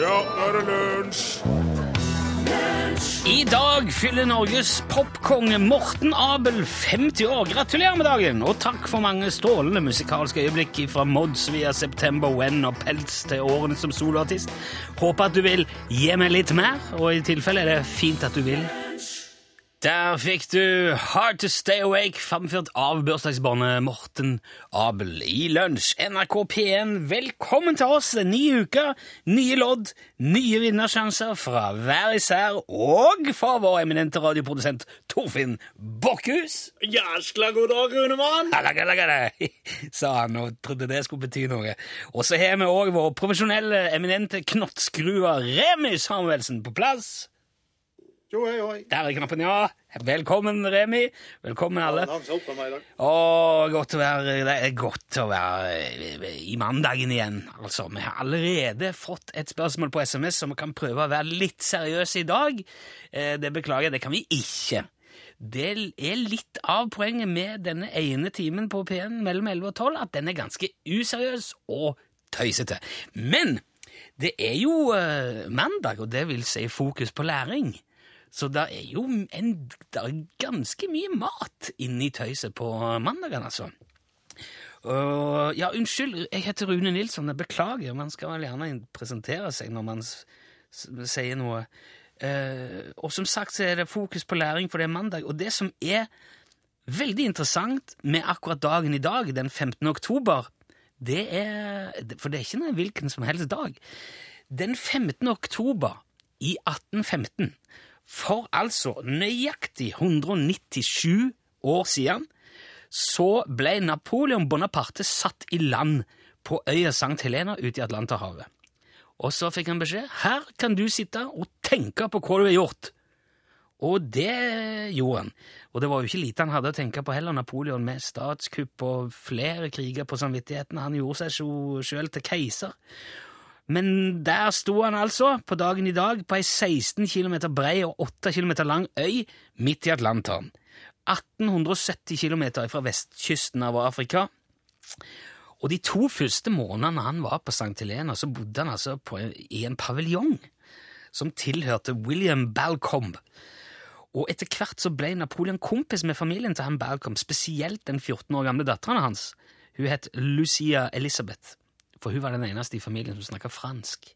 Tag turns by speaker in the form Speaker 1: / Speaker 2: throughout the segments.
Speaker 1: Ja, nå er det lunsj!
Speaker 2: I dag fyller Norges popkonge Morten Abel 50 år. Gratulerer med dagen, og takk for mange strålende musikalske øyeblikk fra Mods via September When og Pelts til årene som soloartist. Håper at du vil gi meg litt mer, og i tilfelle er det fint at du vil. Der fikk du Hard to Stay Awake, fremført av bursdagsbarnet Morten Abel i lunsj. NRK P1, velkommen til oss! En ny uke, nye lodd, nye vinnersjanser fra hver især, og fra vår eminente radioprodusent Torfinn Bokkhus.
Speaker 1: Jæskla god dag, Runemann!
Speaker 2: Alagalagalai, sa han og trodde det skulle bety noe. Og så har vi òg vår profesjonelle, eminente knottskruer Remi Samuelsen på plass.
Speaker 1: Jo, hei, hei.
Speaker 2: Der er knappen, ja. Velkommen, Remi. Velkommen, alle.
Speaker 1: Han sa opp med meg i dag.
Speaker 2: Å, godt å være Det er godt å være i mandagen igjen. Altså, vi har allerede fått et spørsmål på SMS, så vi kan prøve å være litt seriøse i dag. Eh, Det beklager jeg, det kan vi ikke. Det er litt av poenget med denne ene timen på P1 mellom 11 og 12, at den er ganske useriøs og tøysete. Men det er jo eh, mandag, og det vil si fokus på læring. Så det er jo en, det er ganske mye mat inni tøyset på mandagen, altså. Og- ja, unnskyld, jeg heter Rune Nilsson. Jeg beklager. Man skal vel gjerne presentere seg når man s s sier noe. Eh, og som sagt så er det fokus på læring, for det er mandag. Og det som er veldig interessant med akkurat dagen i dag, den 15. oktober, det er For det er ikke en hvilken som helst dag. Den 15. oktober i 1815, for altså nøyaktig 197 år siden, så ble Napoleon Bonaparte satt i land på øya Sankt Helena ute i Atlanterhavet. Og så fikk han beskjed her kan du sitte og tenke på hva du har gjort. Og det gjorde han. Og det var jo ikke lite han hadde å tenke på heller, Napoleon, med statskupp og flere kriger på samvittigheten. Han gjorde seg jo sjøl til keiser. Men der sto han altså, på dagen i dag, på ei 16 km brei og 8 km lang øy midt i Atlanteren. 1870 km fra vestkysten av Afrika. Og de to første månedene han var på St. Helena, så bodde han altså på, i en paviljong som tilhørte William Balcombe. Og etter hvert så ble Napoleon kompis med familien til han Balcom, spesielt den 14 år gamle datteren hans. Hun het Lucia Elizabeth, for hun var den eneste i familien som snakka fransk.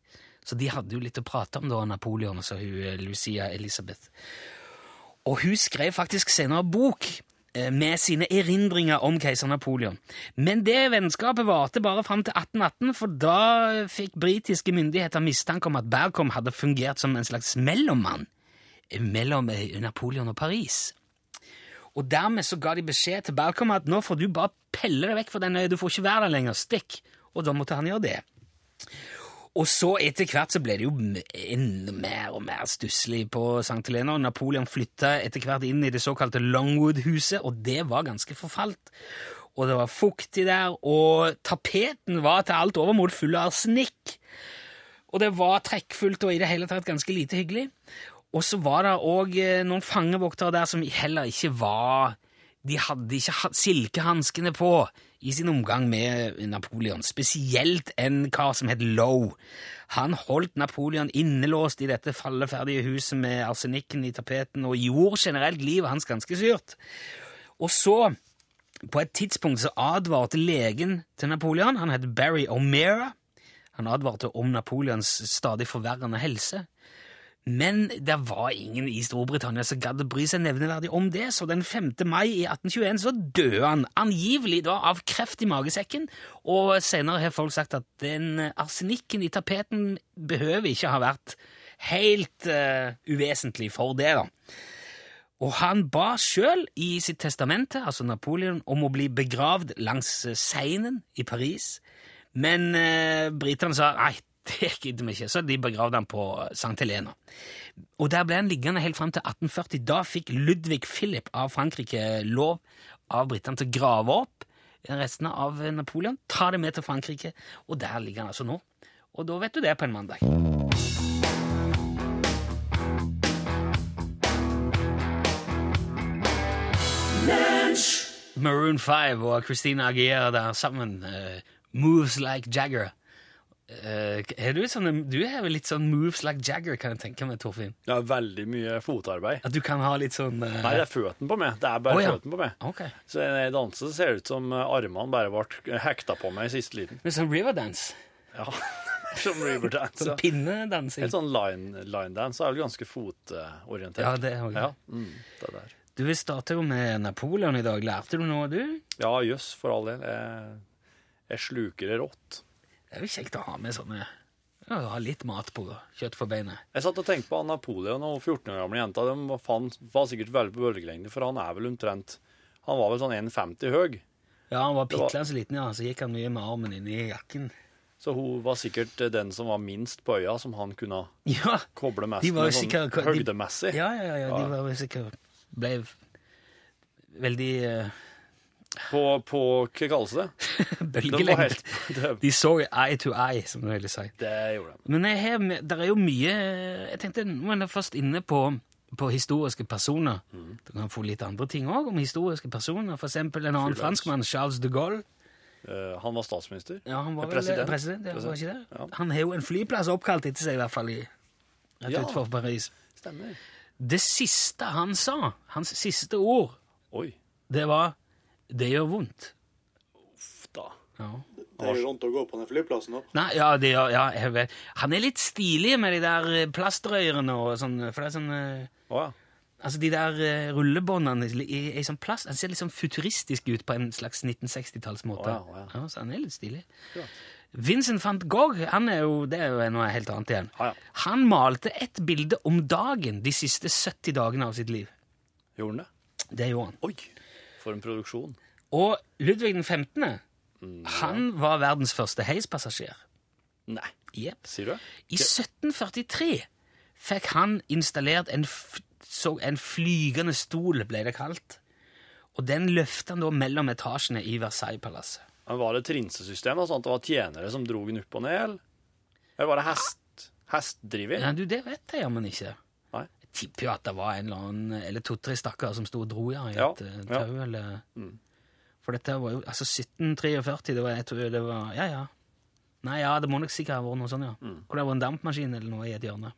Speaker 2: Så de hadde jo litt å prate om da, Napoleon og så hun eh, Lucia Elizabeth. Og hun skrev faktisk senere bok eh, med sine erindringer om keiser Napoleon. Men det vennskapet varte bare fram til 1818, for da fikk britiske myndigheter mistanke om at Balcom hadde fungert som en slags mellommann mellom eh, Napoleon og Paris. Og dermed så ga de beskjed til Balcom at nå får du bare pelle deg vekk fra den øya, du får ikke være der lenger, stikk. Og da måtte han gjøre det. Og så etter hvert så ble det jo m- enda mer og mer stusslig på St. Helena. og Napoleon flytta etter hvert inn i det såkalte Longwood-huset, og det var ganske forfalt. Og det var fuktig der, og tapeten var til alt overmot full av arsenikk. Og det var trekkfullt og i det hele tatt ganske lite hyggelig. Og så var det òg eh, noen fangevoktere der som heller ikke var De hadde ikke ha- silkehanskene på i sin omgang med Napoleon. Spesielt en kar som het Lowe. Han holdt Napoleon innelåst i dette falleferdige huset med arsenikken i tapeten og gjorde generelt livet hans ganske syrt. Og så på et tidspunkt så advarte legen til Napoleon, han het Barry O'Meara, han advarte om Napoleons stadig forverrende helse. Men det var ingen i Storbritannia som gadd å bry seg nevneverdig om det, så den 5. mai i 1821 så døde han, angivelig da av kreft i magesekken, og senere har folk sagt at den arsenikken i tapeten behøver ikke ha vært helt eh, uvesentlig for det, da. Og han ba sjøl i sitt testamente, altså Napoleon, om å bli begravd langs eh, Seinen i Paris, men eh, britene sa nei, det gidder vi ikke, så de begravde han på St. Helena. Og der ble han liggende helt fram til 1840. Da fikk Ludvig Philip av Frankrike lov av britene til å grave opp restene av Napoleon, ta det med til Frankrike, og der ligger han altså nå. Og da vet du det på en mandag. Maroon 5 og Christina Aguilera der sammen. eh, Moves Like Jagger. Eh, er du, sånn, du har vel litt sånn moves like Jagger, kan jeg tenke meg, Torfinn.
Speaker 3: Jeg har veldig mye fotarbeid.
Speaker 2: At du kan ha litt sånn eh,
Speaker 3: Nei, det er føttene på meg. Det er bare
Speaker 2: Å, ja.
Speaker 3: føttene på meg.
Speaker 2: Ok.
Speaker 3: Så når jeg danser, så ser det ut som eh, armene bare ble hekta på meg i siste liten.
Speaker 2: Men sånn riverdance.
Speaker 3: Ja, Som Riverdance.
Speaker 2: Sånn
Speaker 3: Ja.
Speaker 2: pinnedansing.
Speaker 3: Helt sånn line, line dance er vel ganske fotorientert.
Speaker 2: Ja, det er også.
Speaker 3: Ja, mm, det der.
Speaker 2: Du, vi starter jo med Napoleon i dag. Lærte du noe, du?
Speaker 3: Ja, jøss, for all del. Jeg, jeg sluker det rått.
Speaker 2: Det er jo kjekt å ha med sånne ja, Ha litt mat på kjøtt for beinet.
Speaker 3: Jeg satt og tenkte på han Napoleon og 14 år gamle jenta. De var, faen- var sikkert veldig på bølgelengde, for han er vel omtrent Han var vel sånn 1,50 høy.
Speaker 2: Ja, han var
Speaker 3: Det var-
Speaker 2: pitla så liten, ja, så gikk han mye med armen inni jakken.
Speaker 3: Så hun var sikkert den som var minst på øya, som han kunne
Speaker 2: Ja,
Speaker 3: koble mest
Speaker 2: De var jo
Speaker 3: med sånn
Speaker 2: sikkert- de-
Speaker 3: høydemessig.
Speaker 2: ja, ja, ja, de
Speaker 3: Ja.
Speaker 2: var jo sikkert Ble veldig eh,
Speaker 3: På, på Hva kalles det? De var
Speaker 2: bølgelengt.
Speaker 3: helt, det,
Speaker 2: De så eye to eye, som det ville si.
Speaker 3: det gjorde de.
Speaker 2: Men jeg har, der er jo mye eh, Jeg tenkte, nå er jeg først inne på, på historiske personer. Du kan få litt andre ting òg om historiske personer. For eksempel en annen
Speaker 3: Fyrløs.
Speaker 2: franskmann, Charles de Gaulle.
Speaker 3: Eh, han var statsminister.
Speaker 2: Ja, han var vel
Speaker 3: President.
Speaker 2: president. president, ja, var ikke det?
Speaker 3: Ja.
Speaker 2: Han har jo en flyplass oppkalt etter seg, i hvert fall i, rett
Speaker 3: Ja.
Speaker 2: utenfor Paris.
Speaker 3: Stemmer.
Speaker 2: Det siste han sa, hans siste ord,
Speaker 3: Oi.
Speaker 2: det var 'det gjør vondt'.
Speaker 3: Uff da.
Speaker 2: Ja.
Speaker 4: Det er jo rundt å gå på den flyplassen nå.
Speaker 2: Nei, ja, det gjør, ja, jeg vet. Han er litt stilig med de der eh, plastrørene og sånn, for det er sånn eh,
Speaker 3: Å ja.
Speaker 2: Altså, de der eh, rullebåndene i, i, i sånn plast, han ser litt sånn futuristisk ut på en slags 1960-tallsmåte.
Speaker 3: Å ja, å ja.
Speaker 2: så han er litt stilig. Vincent van Gogh, han er jo, det er jo noe helt annet igjen.
Speaker 3: Å ja.
Speaker 2: Han malte ett bilde om dagen de siste 70 dagene av sitt liv.
Speaker 3: Gjorde han det?
Speaker 2: Det gjorde han.
Speaker 3: Oi. For en produksjon.
Speaker 2: Og Ludvig den 15.,
Speaker 3: Mm,
Speaker 2: han var verdens første heispassasjer.
Speaker 3: Nei.
Speaker 2: Jepp.
Speaker 3: Sier du?
Speaker 2: I 1743 fikk han installert en, f- så en flygende stol, ble det kalt. Og den løftet han da mellom etasjene i Versailles-palasset.
Speaker 3: Men var det trinsesystem? da, Sånn at det var tjenere som drog den opp og ned? Eller, eller var det hest? Hestdriver?
Speaker 2: Ja, du, det vet jeg jammen ikke.
Speaker 3: Nei.
Speaker 2: Jeg tipper jo at det var en eller annen, eller to-tre stakkere som sto og dro ja, i
Speaker 3: Ja,
Speaker 2: et eh,
Speaker 3: ja. Mm.
Speaker 2: tau, eller... For dette var jo, altså 1743, det var, jeg tror det var, ja, ja. Nei, ja, det må nok sikkert ha vært noe sånt, ja.
Speaker 3: Mm.
Speaker 2: Hvor det var en dampmaskin eller noe i et hjørne.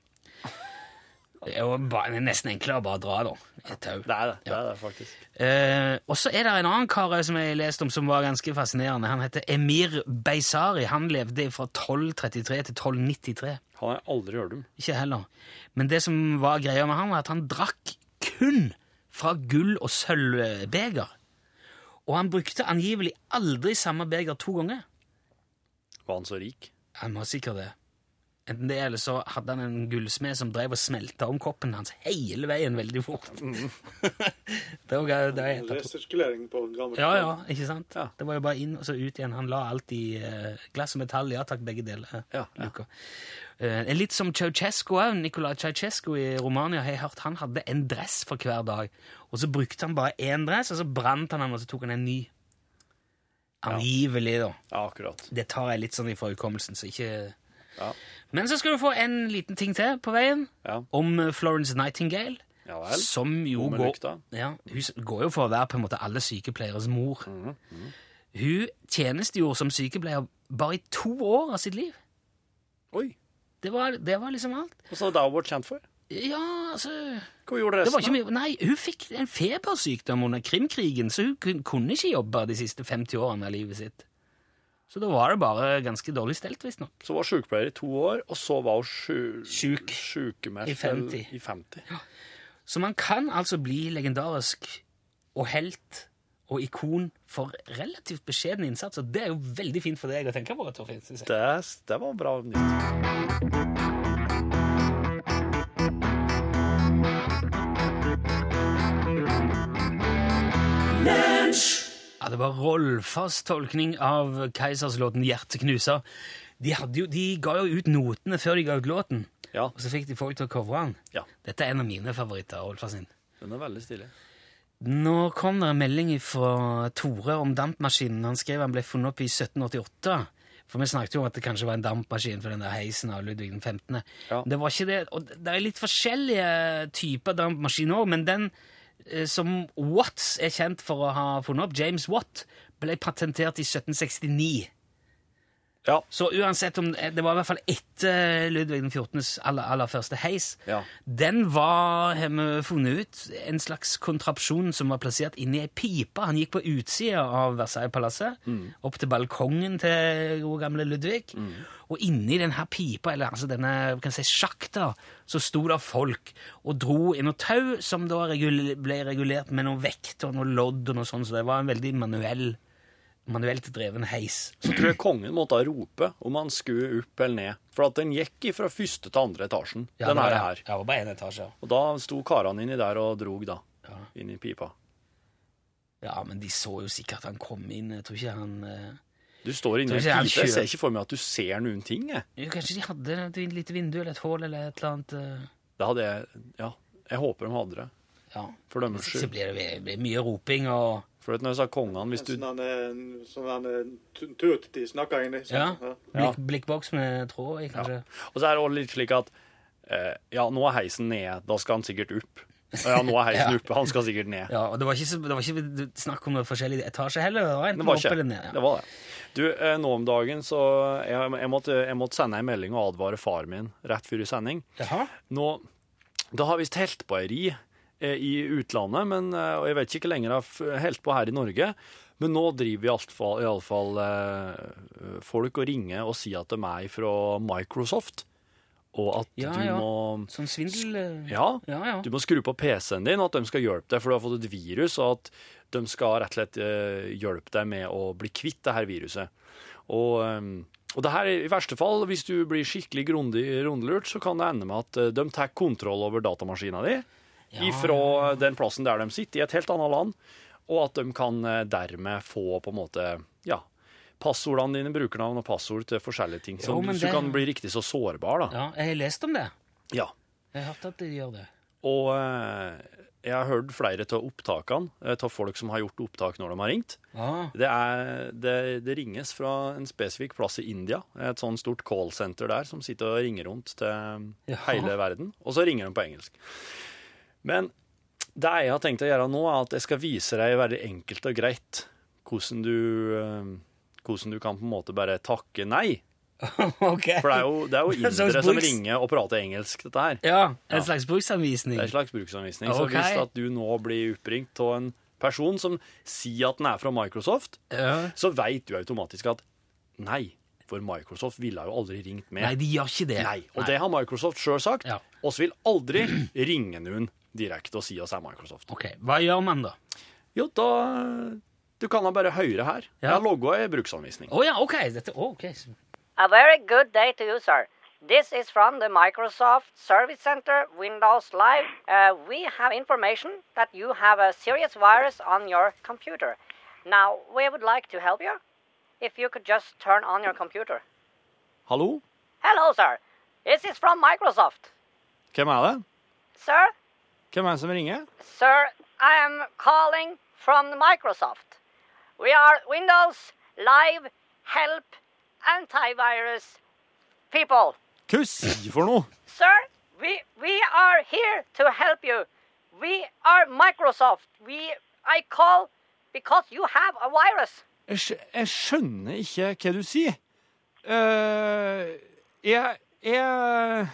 Speaker 2: Det er jo bare, det er nesten enklere å bare dra da, i et tau.
Speaker 3: Det er det. Det er det faktisk.
Speaker 2: Eh, og så er det en annen kar også som jeg leste om som var ganske fascinerende. Han heter Emir Beisari. Han levde fra 1233 til 1293.
Speaker 3: Han har jeg aldri hørt om.
Speaker 2: Ikke heller. Men det som var greia med han, var at han drakk kun fra gull- og sølvbeger. Og han brukte angivelig aldri samme beger to ganger.
Speaker 3: Var han så rik?
Speaker 2: Han var sikker det. Enten det, eller så hadde han en gullsmed som drev og smelta om koppen hans hele veien veldig fort. det var, det er
Speaker 4: Resirkulering på en gammel
Speaker 2: Ja, ja, ikke sant?
Speaker 3: Ja.
Speaker 2: Det var jo bare inn og så ut igjen. Han la alt i eh, glass og metall. Ja takk, begge deler.
Speaker 3: Ja, ja.
Speaker 2: Luka. Eh, litt som Ceaucescu òg. Nicolai Ceaucescu i Romania har jeg hørt han hadde en dress for hver dag. Og så brukte han bare én dress, og så brant han den, og så tok han en ny. Angivelig, da.
Speaker 3: Ja, akkurat.
Speaker 2: Det tar jeg litt sånn ifra hukommelsen, så ikke
Speaker 3: Ja.
Speaker 2: Men så skal du få en liten ting til på veien,
Speaker 3: Ja,
Speaker 2: om eh, Florence Nightingale.
Speaker 3: ja vel.
Speaker 2: Som jo
Speaker 3: Hun med
Speaker 2: går,
Speaker 3: lykta.
Speaker 2: ja, hun s- går jo for å være på en måte alle sykepleieres mor.
Speaker 3: Mhm,
Speaker 2: Hun tjenestegjorde som sykepleier bare i to år av sitt liv.
Speaker 3: Oi.
Speaker 2: Det var, det var liksom alt.
Speaker 3: Og så det hun ble kjent for?
Speaker 2: Ja, altså
Speaker 3: Hva gjorde
Speaker 2: det
Speaker 3: resten?
Speaker 2: var ikke mye, Nei, hun fikk en febersykdom under krimkrigen, så hun kun- kunne ikke jobbe de siste 50 årene av livet sitt. Så da var det bare ganske dårlig stelt, visstnok.
Speaker 3: Så hun var sykepleier i to år, og så var hun sju...
Speaker 2: Sjuk.
Speaker 3: sykemeldt
Speaker 2: I 50.
Speaker 3: eller- I 50.
Speaker 2: Så man kan altså bli legendarisk og helt og ikon for relativt beskjeden innsats, og det er jo veldig fint for deg å tenke på, Torfinn. synes jeg.
Speaker 3: Det, det var bra nytt.
Speaker 2: Ja, det var Rolfas tolkning av Keiserslåten 'Hjerteknuser'. De, hadde jo, de ga jo ut notene før de ga ut låten,
Speaker 3: Ja,
Speaker 2: og så fikk de folk til å covre den.
Speaker 3: ja.
Speaker 2: Dette er en av mine favoritter, Rolfa sin.
Speaker 3: Den er veldig stilig.
Speaker 2: Nå kom det en melding fra Tore om dampmaskinen. Han skrev han ble funnet opp i 1788. For vi snakket jo om at det kanskje var en dampmaskin for den der heisen av Ludvig den 15.
Speaker 3: Ja.
Speaker 2: Det var ikke det. Og det er litt forskjellige typer dampmaskin òg, men den eh, som Watts er kjent for å ha funnet opp, James Watt, ble patentert i 1769.
Speaker 3: Ja.
Speaker 2: Så uansett om eh, Det var i hvert fall etter Ludvig den 14.s aller, aller første heis.
Speaker 3: Ja.
Speaker 2: Den var, har vi funnet ut, en slags kontrapsjon som var plassert inni ei pipe. Han gikk på utsida av Versailles-palasset, opp til balkongen til gode gamle Ludvig. Og inni denne pipa, eller altså denne vi kan si, sjakta, så sto det folk og dro i noe tau, som da regul ble regulert med noe vekt og noe lodd og noe sånt, så det var en veldig manuell, manuelt dreven heis.
Speaker 3: Så tror jeg kongen måtte rope om han skulle opp eller ned. For at den gikk fra første til andre etasjen.
Speaker 2: Ja,
Speaker 3: den
Speaker 2: det var-
Speaker 3: her her.
Speaker 2: Ja, det var bare én etasje. ja.
Speaker 3: Og da sto karene inni der og drog, da.
Speaker 2: Ja.
Speaker 3: Inn i pipa.
Speaker 2: Ja, men de så jo sikkert han kom inn. Jeg tror ikke han eh,
Speaker 3: Du står inni
Speaker 2: Tror
Speaker 3: en
Speaker 2: ikke han
Speaker 3: pipe. Jeg
Speaker 2: kjører.
Speaker 3: ser ikke for meg at du ser noen ting, jeg.
Speaker 2: jo, Kanskje de hadde et lite vindu eller et hull eller et eller annet. eh,
Speaker 3: Det hadde jeg Ja. Jeg håper de hadde det.
Speaker 2: Ja.
Speaker 3: For deres
Speaker 2: Så
Speaker 3: skyld.
Speaker 2: blir det ve- blir mye roping og
Speaker 3: For at når jeg sa kongene hvis du
Speaker 4: Sånn han er en- sånn han er en tu- tut de snakker inni. sånn,
Speaker 2: Ja.
Speaker 4: ja.
Speaker 3: Ja.
Speaker 2: blikk, blikkboks med tråd i, kanskje.
Speaker 3: Og så er det også litt slik at eh, Ja, nå er heisen ned. Da skal han sikkert opp. Ja, nå er heisen
Speaker 2: Ja.
Speaker 3: oppe. Han skal sikkert ned.
Speaker 2: Ja. og det var, ikke, så- det var ikke snakk om forskjellige etasjer heller. Det var
Speaker 3: Det
Speaker 2: enten
Speaker 3: var
Speaker 2: opp
Speaker 3: ikke
Speaker 2: eller ned. Ja.
Speaker 3: Det var det. Du, eh, nå om dagen så jeg, jeg, måtte, jeg måtte sende en melding og advare far min rett før i sending.
Speaker 2: Jaha.
Speaker 3: Nå, det har visst helt på ei ri eh, i utlandet, men, eh, og jeg vet ikke hvor lenge det har f- helt på her i Norge. Men nå driver iallfall, iallfall eh, folk og ringer og sier at de er fra Microsoft, og at
Speaker 2: Ja,
Speaker 3: du
Speaker 2: ja.
Speaker 3: må
Speaker 2: Sånn svindel eh,
Speaker 3: Ja,
Speaker 2: ja. ja.
Speaker 3: du må skru på PC-en din, og at de skal hjelpe deg, for du har fått et virus, og at de skal rett og slett eh, hjelpe deg med å bli kvitt det her viruset. Og, eh, og det her, i verste fall, hvis du blir skikkelig grundig rundlurt, så kan det ende med at eh, de tar kontroll over datamaskina di
Speaker 2: Ja.
Speaker 3: ifra den plassen der de sitter, i et helt annet land, og at de kan eh, dermed få på en måte, ja, passordene dine, brukernavn og passord til forskjellige ting, så
Speaker 2: Jo,
Speaker 3: du
Speaker 2: men
Speaker 3: så
Speaker 2: det-
Speaker 3: kan bli riktig så sårbar, da.
Speaker 2: ja. Jeg har lest om det.
Speaker 3: ja.
Speaker 2: Jeg har hørt at de gjør det.
Speaker 3: Og eh, jeg har hørt flere av opptakene eh, av folk som har gjort opptak når de har ringt.
Speaker 2: Ja.
Speaker 3: Det, er, det, det ringes fra en spesifikk plass i India, et sånn stort callsenter der, som sitter og ringer rundt til
Speaker 2: Jaha.
Speaker 3: hele verden. Og så ringer de på engelsk. Men det jeg har tenkt å gjøre nå, er at jeg skal vise deg veldig enkelt og greit hvordan du, eh, hvordan du kan på en måte bare takke nei.
Speaker 2: Ah, ok.
Speaker 3: For det er jo, det er jo
Speaker 2: Det er en slags
Speaker 3: indere som
Speaker 2: bruks.
Speaker 3: ringer og prater engelsk, dette her.
Speaker 2: Ja, en
Speaker 3: Ja.
Speaker 2: slags bruksanvisning.
Speaker 3: Det er en slags bruksanvisning.
Speaker 2: Ok.
Speaker 3: Så hvis at du nå blir oppringt av en person som sier at den er fra Microsoft,
Speaker 2: Ja.
Speaker 3: så vet du automatisk at nei, for Microsoft ville jo aldri ringt med.
Speaker 2: Nei, de gjør ikke det.
Speaker 3: Nei. Og det har Microsoft sjøl sagt.
Speaker 2: Ja.
Speaker 3: Oss vil aldri ringe noen direkte og si oss er Microsoft.
Speaker 2: Ok, Hva gjør man da?
Speaker 3: Jo, da Du kan da bare høre her. Jeg
Speaker 2: Ja.
Speaker 3: har logga ei bruksanvisning.
Speaker 2: Å ja, OK. Dette, å, ok.
Speaker 5: A very good day to you, sir. This is from the Microsoft Service Center Windows Live. Uh, we have information that you have a serious virus on your computer. Now, we would like to help you. If you could just turn on your computer.
Speaker 3: Hallo?
Speaker 5: Hello, sir. This is from Microsoft.
Speaker 3: Hvem er det?
Speaker 5: Sir,
Speaker 3: Hvem er det som ringer?
Speaker 5: sir, I am calling from Microsoft. We are Windows Live Help Antivirus people.
Speaker 3: Hva sier for noe?
Speaker 5: Sir, we we are here to help you. We are Microsoft. We I call because you have a virus.
Speaker 3: Jeg, skj- jeg skjønner ikke hva du sier. Eh, jeg jeg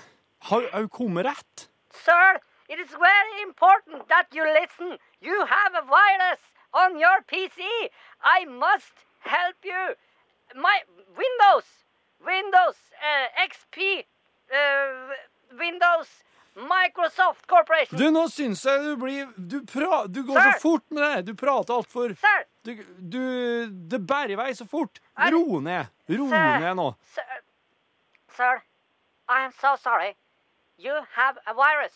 Speaker 3: har òg kommet rett.
Speaker 5: Sir, it is very important that you listen. You have a virus on your PC. I must help you. My Windows, Windows uh, XP, uh, Windows Microsoft Corporation.
Speaker 3: Du, nå syns jeg du blir Du, pra, du går
Speaker 5: Sir!
Speaker 3: så fort med det. Du prater altfor
Speaker 5: Sir,
Speaker 3: du, du Det bærer i vei så fort.
Speaker 5: Er-
Speaker 3: Ro ned. Ro
Speaker 5: Sir!
Speaker 3: ned nå.
Speaker 5: Sir, sir, I am so sorry. You have a virus.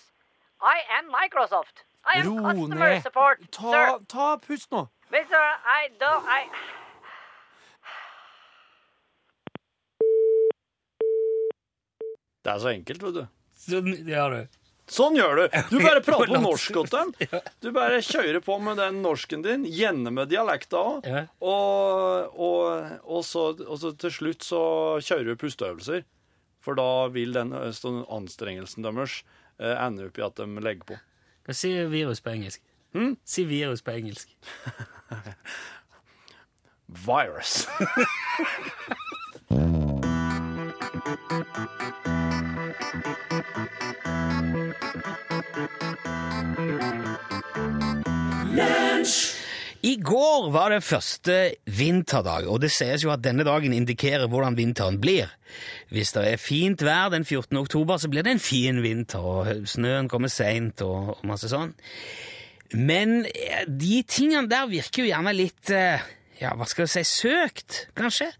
Speaker 5: I am Microsoft. I am
Speaker 3: Ro
Speaker 5: customer
Speaker 3: ned.
Speaker 5: support. Sir,
Speaker 3: Ta, ta pust nå.
Speaker 5: Mister, I don't. I.
Speaker 3: Det er så enkelt, vet du.
Speaker 2: Sånn gjør du.
Speaker 3: Sånn gjør du. Du bare prater på
Speaker 2: Forlatt.
Speaker 3: norsk til dem. Du bare kjører på med den norsken din, gjerne med dialekta òg.
Speaker 2: Ja.
Speaker 3: Og, og, og, så, og så til slutt så kjører du pusteøvelser. For da vil den ø, sånn anstrengelsen deres eh, ende opp i at de legger på.
Speaker 2: Hva sier virus på engelsk? Si virus på engelsk.
Speaker 3: Virus.
Speaker 2: I går var det første vinterdag, og det sies jo at denne dagen indikerer hvordan vinteren blir. Hvis det er fint vær den 14. oktober, så blir det en fin vinter, og snøen kommer seint og, og masse sånn. Men eh, de tingene der virker jo gjerne litt eh, ja, hva skal jeg si søkt, kanskje?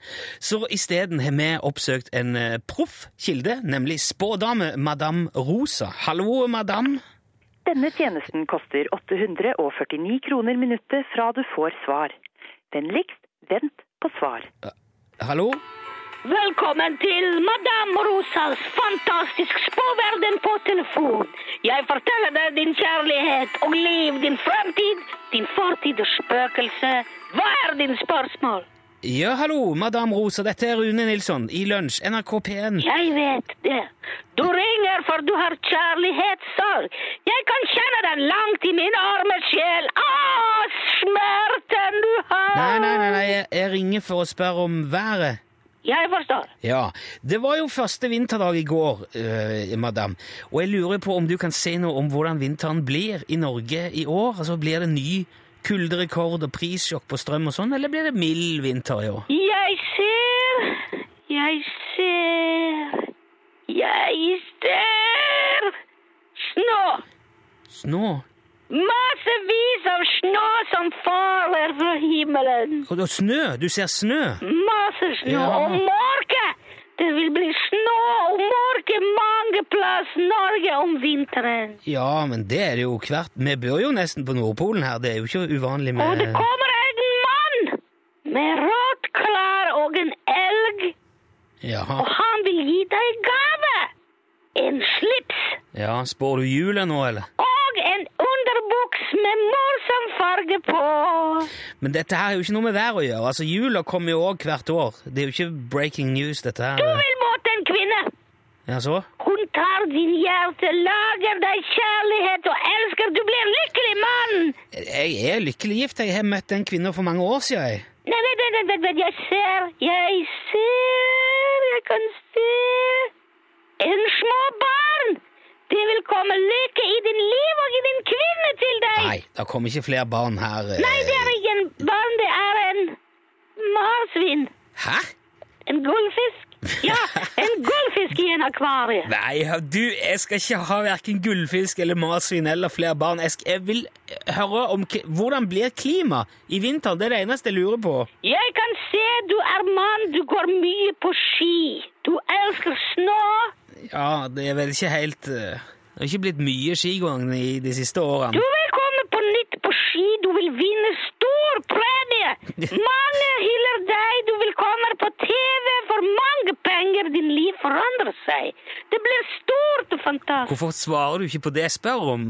Speaker 2: Så isteden har vi oppsøkt en eh, proff kilde, nemlig spådame Madame Rosa. Hallo, madame.
Speaker 6: Denne tjenesten koster 849 kroner minuttet fra du får svar. Vennligst vent på svar.
Speaker 2: Hallo?
Speaker 7: Velkommen til Madame Rosas fantastisk spåverden på telefon. Jeg forteller deg din kjærlighet og liv, din fremtid, din fortid og spøkelse. Hva er din spørsmål?
Speaker 2: Ja, hallo, Madame Rosa, dette er Rune Nilsson i Lunsj, NRK P1.
Speaker 7: Jeg vet det. Du ringer for du har kjærlighetssorg. Jeg kan kjenne den langt i min arme sjel. Å, smerten du har!
Speaker 2: Nei, nei, nei, nei, jeg- jeg ringer for å spørre om været.
Speaker 7: Jeg forstår.
Speaker 2: Ja, det var jo første vinterdag i går, eh, madame, og jeg lurer på om du kan si noe om hvordan vinteren blir i Norge i år? Altså, blir det ny kulderekord og prissjokk på strøm og sånn, eller blir det mild vinter i år?
Speaker 7: Jeg ser, jeg ser, jeg ser snø.
Speaker 2: Snå?
Speaker 7: Massevis av snø som faller fra himmelen.
Speaker 2: Og, og snø? Du ser snø?
Speaker 7: Masse snø
Speaker 2: Ja.
Speaker 7: og mørke. Det vil bli snø og mørke mange plass Norge om vinteren.
Speaker 2: Ja, men det er det jo hvert Vi bor jo nesten på Nordpolen her, det er jo ikke uvanlig med
Speaker 7: Og det kommer en mann med rødt klær og en elg,
Speaker 2: Jaha.
Speaker 7: og han vil gi deg gave. En slips.
Speaker 2: Ja, spår du jula nå, eller?
Speaker 7: Og en underbuks med morsom farge på.
Speaker 2: Men dette her er jo ikke noe med vær å gjøre. Altså, Jula kommer jo òg hvert år. Det er jo ikke breaking news, dette
Speaker 7: Du
Speaker 2: her.
Speaker 7: vil møte en kvinne.
Speaker 2: Ja, så?
Speaker 7: Hun tar din hjerte, lager deg kjærlighet og elsker. Du blir lykkelig mann.
Speaker 2: Jeg er lykkelig gift. Jeg har møtt den kvinnen for mange år siden. jeg.
Speaker 7: Nei, vent, vent, vent, vent, vent. Jeg ser, jeg ser, jeg kan se. En små barn. Det vil komme lykke i din liv og i din kvinne til deg.
Speaker 2: Nei, det kommer ikke flere barn her. eh.
Speaker 7: Nei, det er ikke en barn, det er en marsvin.
Speaker 2: Hæ?
Speaker 7: En gullfisk? Ja, en gullfisk i en akvarie.
Speaker 2: Nei, du, jeg skal ikke ha verken gullfisk eller marsvin eller flere barn. Jeg, skal, jeg vil høre om k- hvordan blir klimaet i vinteren. Det er det eneste jeg lurer på.
Speaker 7: Jeg kan se du er mann, du går mye på ski. Du elsker snø.
Speaker 2: Ja, det er vel ikke helt eh, Det har ikke blitt mye skigåing i de siste årene.
Speaker 7: Du vil komme på nytt på ski, du vil vinne stor premie. Mange hyller deg, du vil komme på TV for mange penger. Din liv forandrer seg. Det blir stort og fantastisk.
Speaker 2: Hvorfor svarer du ikke på det jeg spør om?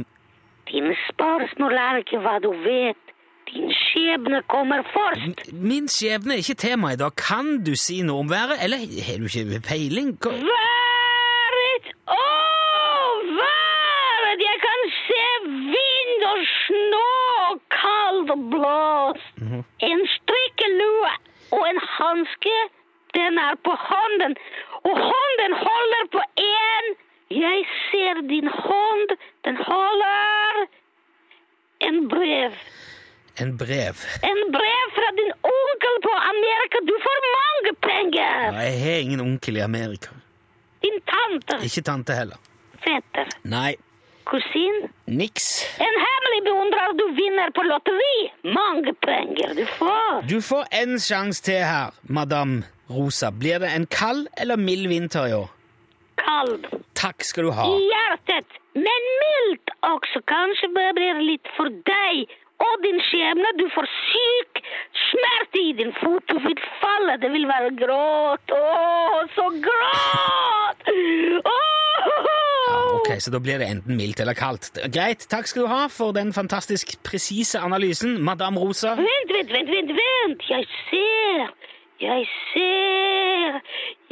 Speaker 7: Dine spørsmål er ikke hva du vet. Din skjebne kommer først.
Speaker 2: Min skjebne er ikke tema i dag. Kan du si noe om været, eller har du ikke peiling? Hva-
Speaker 7: Været! Å, været! Jeg kan se vind og snø og kald og blåst. En strikkelue og en hanske, den er på hånden. Og hånden holder på én. Jeg ser din hånd, den holder en brev.
Speaker 2: En brev.
Speaker 7: En brev fra din onkel på Amerika. Du får mange penger.
Speaker 2: Ja, jeg har ingen onkel i Amerika.
Speaker 7: Din tante,
Speaker 2: Ikke tante heller.
Speaker 7: fetter,
Speaker 2: Nei,
Speaker 7: kusin.
Speaker 2: niks.
Speaker 7: En hemmelig beundrer du vinner på lotteri. Mange penger du får.
Speaker 2: Du får en sjanse til her, madame Rosa. Blir det en kald eller mild vinter i år?
Speaker 7: Kald.
Speaker 2: Takk skal du ha.
Speaker 7: I hjertet. Men mildt også. Kanskje det blir litt for deg og din skjebne. Du får syk smerte i din fot. Du vil falle. Det vil være gråt. Å, så gråt! Åh!
Speaker 2: Ok, Så da blir det enten mildt eller kaldt. Greit, takk skal du ha for den fantastisk presise analysen, madame Rosa.
Speaker 7: Vent, vent, vent, vent, vent. Jeg ser. Jeg ser.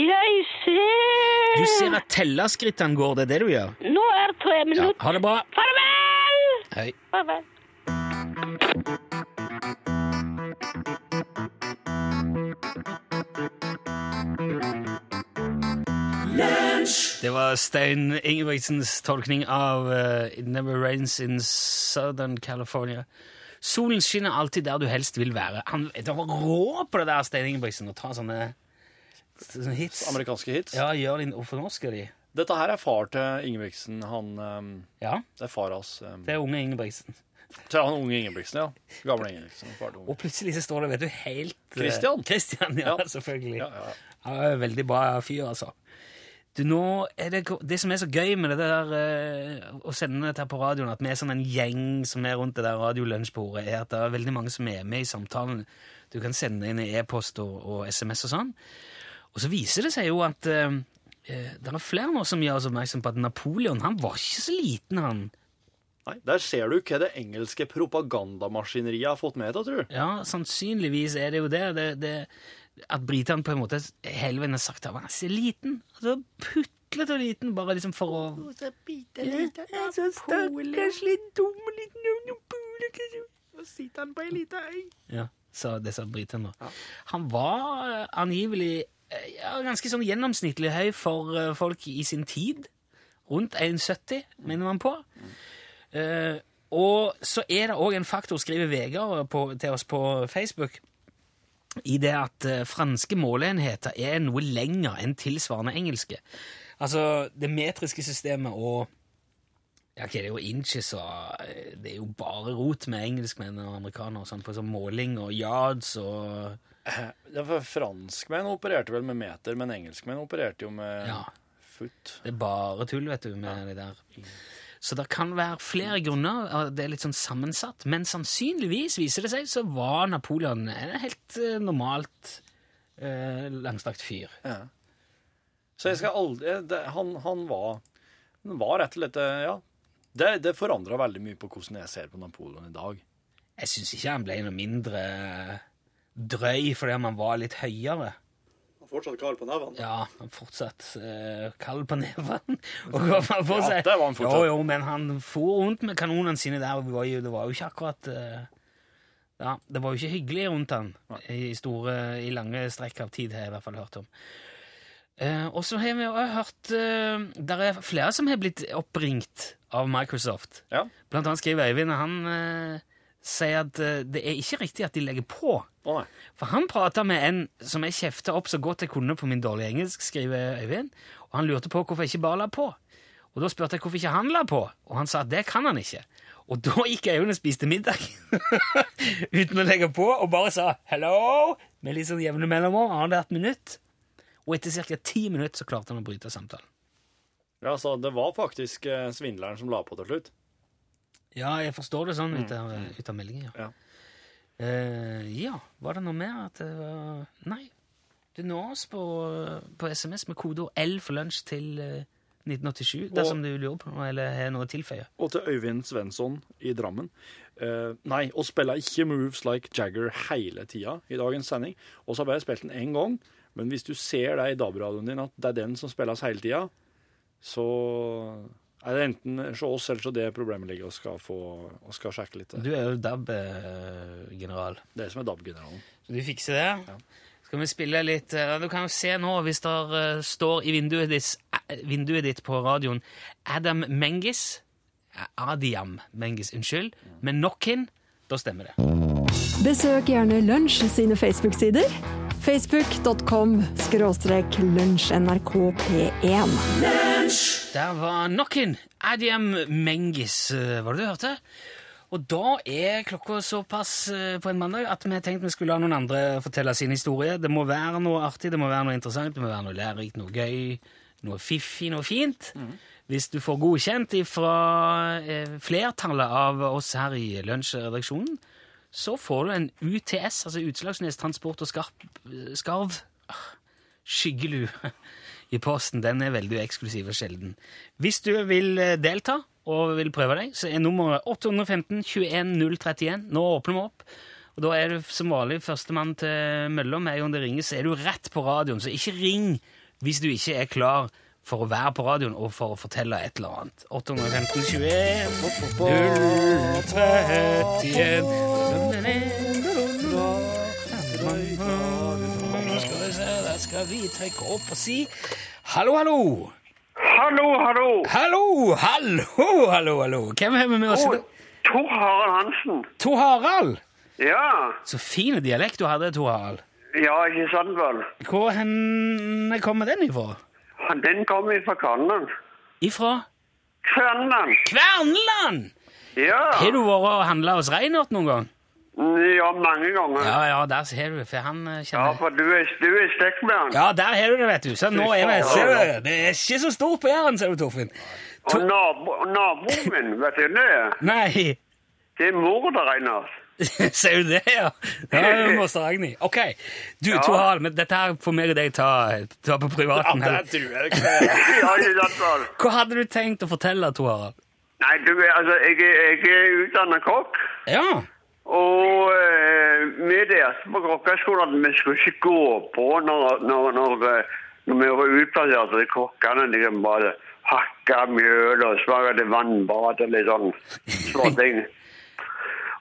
Speaker 7: Jeg ser.
Speaker 2: Du ser at tellerskrittene går, det er det du gjør?
Speaker 7: Nå er tre
Speaker 2: Ja,
Speaker 7: minutter.
Speaker 2: ha det bra.
Speaker 7: Farvel!
Speaker 2: Hei.
Speaker 7: Farvel.
Speaker 2: Det var Stein Ingebrigtsens tolkning av eh, It Never Rains in Southern California. Solen skinner alltid der du helst vil være. Han det var rå på det der, Stein Ingebrigtsen, å ta sånne, sånne hits.
Speaker 8: Amerikanske hits.
Speaker 2: Ja, gjør de Hvorfor norsker de?
Speaker 8: Dette her er far til Ingebrigtsen. Han, ehm,
Speaker 3: eh,
Speaker 2: Ja,
Speaker 8: det er far hans. ehm,
Speaker 2: det er unge Ingebrigtsen.
Speaker 8: til han unge Ingebrigtsen, ja. Gamle Ingebrigtsen. Far til
Speaker 2: Og
Speaker 8: unge.
Speaker 2: plutselig så står det, vet du, helt eh,
Speaker 8: Christian.
Speaker 2: Christian, ja,
Speaker 8: Ja.
Speaker 2: selvfølgelig.
Speaker 8: Ja, ja.
Speaker 2: Han er en veldig bra fyr, altså. Du, nå er det, det som er så gøy med det der eh, å sende dette her på radioen, at vi er sånn en gjeng som er rundt det der radiolunsjbordet, er at det er veldig mange som er med i samtalen. Du kan sende inn i e-post og, og SMS og sånn. Og så viser det seg jo at eh, eh, det er flere nå som gjør oss oppmerksom på at Napoleon han var ikke så liten, han.
Speaker 8: Nei, der ser du hva det engelske propagandamaskineriet har fått med deg, tror du.
Speaker 2: Ja, sannsynligvis er det jo det. det, det at britene på en måte hele veien har sagt at han er så liten. Altså, putlete og liten, bare liksom for å Så stakkars litt dum liten Napoleon.
Speaker 8: Så sitter han på ei lita øy.
Speaker 2: Ja, sa det sa briten da. Han var eh, angivelig eh, ja, ganske sånn gjennomsnittlig høy for eh, folk i sin tid. Rundt 1,70, minner man på. Eh, og så er det òg en faktor, skriver Vegard på, til oss på Facebook, i det at eh, franske måleenheter er noe lenger enn tilsvarende engelske. Altså, det metriske systemet og ja, ok, det er jo inches og eh, Det er jo bare rot med engelskmenn og amerikanere og sånn på sånn måling og yards og
Speaker 8: Ja, for Franskmenn opererte vel med meter, men engelskmenn opererte jo med
Speaker 2: Ja.
Speaker 8: foot.
Speaker 2: Det er bare tull, vet du, med det der. Så det kan være flere grunner. og Det er litt sånn sammensatt. Men sannsynligvis, viser det seg, så var Napoleon en helt eh, normalt eh, langstrakt fyr.
Speaker 8: Ja. Så jeg skal aldri eh, det, han, han var Han var rett og slett eh, Ja. Det, det forandra veldig mye på hvordan jeg ser på Napoleon i dag.
Speaker 2: Jeg syns ikke han ble noe mindre eh, drøy fordi om han var litt høyere.
Speaker 1: Han er fortsatt kald på nevene.
Speaker 2: Ja, han fortsatt eh, kald på neven. Og gav han på
Speaker 8: Ja,
Speaker 2: seg.
Speaker 8: det var han fortsatt.
Speaker 2: Jo, jo, men han for rundt med kanonene sine der, og det var jo, det var jo ikke akkurat eh, Ja, det var jo ikke hyggelig rundt han i, store, i lange strekk av tid, har jeg i hvert fall hørt om. Eh, og så har vi også hørt uh, Der er flere som har blitt oppringt av Microsoft.
Speaker 8: Ja.
Speaker 2: Blant annet skriver Øyvind, og han eh, sier at eh, det er ikke riktig at de legger på.
Speaker 8: Å nei.
Speaker 2: For han prata med en som jeg kjefta opp så godt jeg kunne på min dårlige engelsk, skriver Øyvind, og han lurte på hvorfor jeg ikke bare la på. Og da spurte jeg hvorfor ikke han la på, og han sa at det kan han ikke. Og da gikk Øyvind og spiste middag uten å legge på, og bare sa hello med litt sånn jevne mellomrom, annethvert minutt. Og etter ca. ti minutter så klarte han å bryte samtalen.
Speaker 8: Ja, så det var faktisk eh, svindleren som la på til slutt.
Speaker 2: Ja, jeg forstår det sånn ut av, ut av meldingen, ja.
Speaker 8: Ja.
Speaker 2: Eh, ja, var det noe mer at det var Nei. Du når oss på, på SMS med kodeord L for lunsj til eh, 1987 dersom du lurer på noe eller har noe å tilføye.
Speaker 8: Og til Øyvind Svensson i Drammen. Eh, nei, å spille ikke Moves Like Jagger hele tida i dagens sending. Og så har jeg bare spilt den én gang, men hvis du ser det i DAB-radioen din, at det er den som spilles hele tida, så er det enten hos oss eller så det problemet ligger og skal, få, og skal sjekke litt.
Speaker 2: Du er jo eh, DAB-general.
Speaker 8: Det er som er DAB-generalen.
Speaker 2: Så du fikser det? Skal vi spille litt eh, Du kan jo se nå, hvis det eh, står i vinduet ditt, eh, vinduet ditt på radioen Adam Mengis eh, Adiam Mengis, unnskyld. Med Knockin. Da stemmer det.
Speaker 9: Besøk gjerne Lunsj sine Facebook-sider. Facebook.com skråstrek lunsjnrkp1.
Speaker 2: Der var Knockin. Adiam Mengis, eh, var det du hørte? Og da er klokka såpass eh, på en mandag at vi har tenkt vi skulle la noen andre fortelle sin historie. Det må være noe artig, det må være noe interessant, det må være noe lærerikt, noe gøy, noe fiffig, noe fint. Hvis du får godkjent fra flertallet av oss her i lunsjredaksjonen, så får du en UTS, altså Utslagsnes Transport og Skarp, eh, Skarv, Ah, skyggelue i posten. Den er veldig eksklusiv og sjelden. Hvis du vil eh, delta og vil prøve deg, så er nummeret 815 21031. Nå åpner vi opp. Og Da er du som vanlig førstemann til mølla. Med en gang det ringer, så er du rett på radioen. Så ikke ring hvis du ikke er klar for å være på radioen og for å fortelle et eller annet. 815 21 031 Nå skal vi se, der skal vi trekke opp og si hallo, hallo!
Speaker 8: Hallo, hallo.
Speaker 2: Hallo, hallo, hallo, hallo. Hvem har vi med oss? i dag?
Speaker 8: Tor Harald Hansen.
Speaker 2: Tor Harald.
Speaker 8: Ja.
Speaker 2: Så fin dialekt du hadde, Tor Harald.
Speaker 8: Ja, ikke sant vel.
Speaker 2: Hvor hen kommer den ifra?
Speaker 8: Han- Den kom fra Kverneland.
Speaker 2: Ifra
Speaker 8: Kverneland.
Speaker 2: Kverneland!
Speaker 8: Ja.
Speaker 2: Har du vært og handla hos Reinert noen gang?
Speaker 8: Ja, mange ganger.
Speaker 2: Ja, ja, der ser du, for han eh,
Speaker 8: Ja,
Speaker 2: kjenner
Speaker 8: for du er, du er stekkbjørn.
Speaker 2: Ja, der har du det, vet du. Så nå er vi
Speaker 8: Ja.
Speaker 2: ser du, Det er ikke så stort på Jæren, ser du, Torfinn.
Speaker 8: Og nabo, og naboen min, vet du det?
Speaker 2: Nei,
Speaker 8: Det er morder, Einar.
Speaker 2: ser du det, ja? Ja, det må stå Agni. OK. Du, Tor Harald, men dette her får meg og deg ta, ta på privaten. her.
Speaker 3: tror jeg ikke.
Speaker 8: Ja, ikke sant vel.
Speaker 2: Hva hadde du tenkt å fortelle, Tor Harald?
Speaker 8: Nei, du, er- altså, jeg, er- jeg er utdannet kokk.
Speaker 2: Ja.
Speaker 8: Og eh, vi lærte på kokkeskolen at vi skulle ikke gå på når, når, når, eh, når vi var utplassert. Så de kokkene de kunne bare hakka mjøl og smake til vannbad og litt sånn små ting.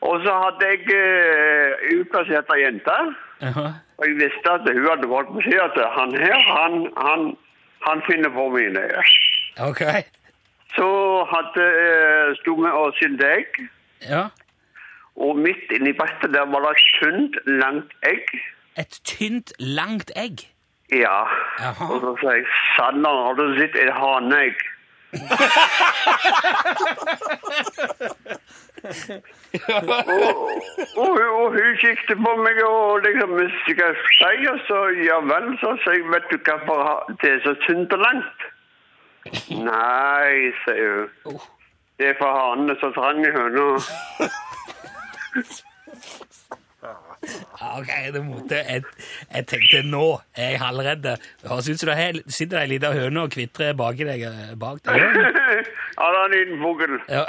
Speaker 8: Og så hadde jeg eh, utplassert ei jente.
Speaker 2: Jaha.
Speaker 8: Og jeg visste at hun hadde gått på sida til han her. Han, han, han finner på mine.
Speaker 2: OK.
Speaker 8: Så hadde, eh, sto vi og skilte egg.
Speaker 2: Ja.
Speaker 8: Og midt inni brettet der var det sunt, langt egg.
Speaker 2: Et tynt, langt egg.
Speaker 8: Ja.
Speaker 2: Jaha.
Speaker 8: Og så sa jeg, Sander, har du sett et haneegg? og, og, hun- og hun kikket på meg og liksom visste hva jeg skulle si, og så ja vel, så sa jeg, vet du hvorfor ha- det er så sunt og langt? Nei, sier hun. Det er for hanen er så trang i høna.
Speaker 2: Ja, OK, det måtte jeg, jeg tenkte nå er jeg halvredd. Det høres ut som det her sitter ei lita høne og kvitrer baki deg. eh, Bak deg.
Speaker 8: Ja, det er en liten fugl.
Speaker 2: Ja.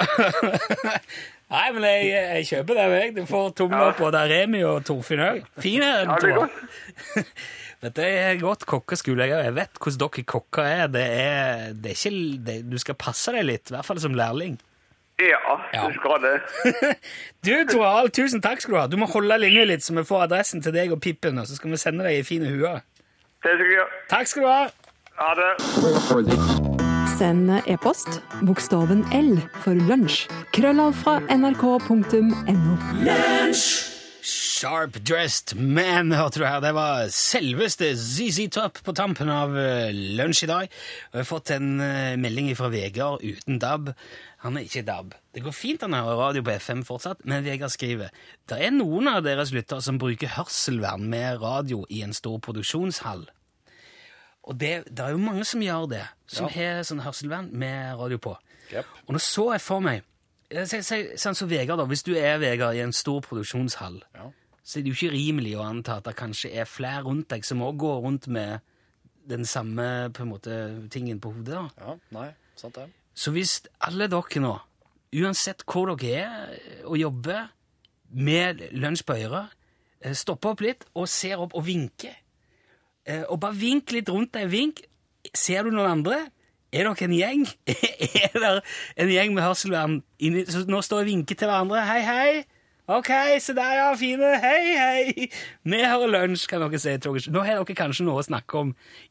Speaker 2: Nei, men jeg, jeg kjøper den, jeg. Du får tommel opp, både Remi og Torfinn òg. Fin er den,
Speaker 8: Ja, det er
Speaker 2: Tor. Dette er godt kokkeskole. Jeg jeg vet hvordan dere kokker er. Det er, det er ikke, det, du skal passe deg litt, i hvert fall som lærling.
Speaker 8: Ja,
Speaker 2: Ja.
Speaker 8: du skal det.
Speaker 2: Du, Tor Harald, tusen takk skal du ha. Du må holde linja litt, så vi får adressen til deg og Pippen, og så skal vi sende deg i fine huer.
Speaker 8: Det skal jeg gjøre.
Speaker 2: Takk skal du ha!
Speaker 8: Ha det.
Speaker 7: Send e-post bokstaven L for lunsj. Krøllav fra nrk.no.
Speaker 2: Sharp Dressed Man, hørte du her. Det var selveste ZZ Top på tampen av eh, lunsj i dag. Og jeg har fått en eh, melding fra Vegard uten DAB. Han er ikke DAB. Det går fint han hører radio på FM fortsatt, men Vegard skriver Det er noen av deres lyttere som bruker hørselvern med radio i en stor produksjonshall. Og det, det er jo mange som gjør det, som har sånn hørselvern med radio på. Og nå så jeg for meg eh, se- se- Sånn som Vegard, da. Hvis du er Vegard i en stor produksjonshall, så er det jo ikke rimelig å anta at det kanskje er flere rundt deg som òg går rundt med den samme på en måte, tingen på hodet. da.
Speaker 3: Ja, nei, sant det.
Speaker 2: Så hvis alle dere nå, uansett hvor dere er og jobber, med lunsj på øret, eh, stopper opp litt og ser opp og vinker, eh, og bare vink litt rundt deg, vink, ser du noen andre? Er dere en gjeng? er dere en gjeng med hørselvern? inni- Så nå står jeg og vinker til hverandre. Hei, hei! Ok, se der, ja, fine. Hei, hei! Vi hører lunsj, kan dere si. til dere. Nå har dere kanskje noe å snakke om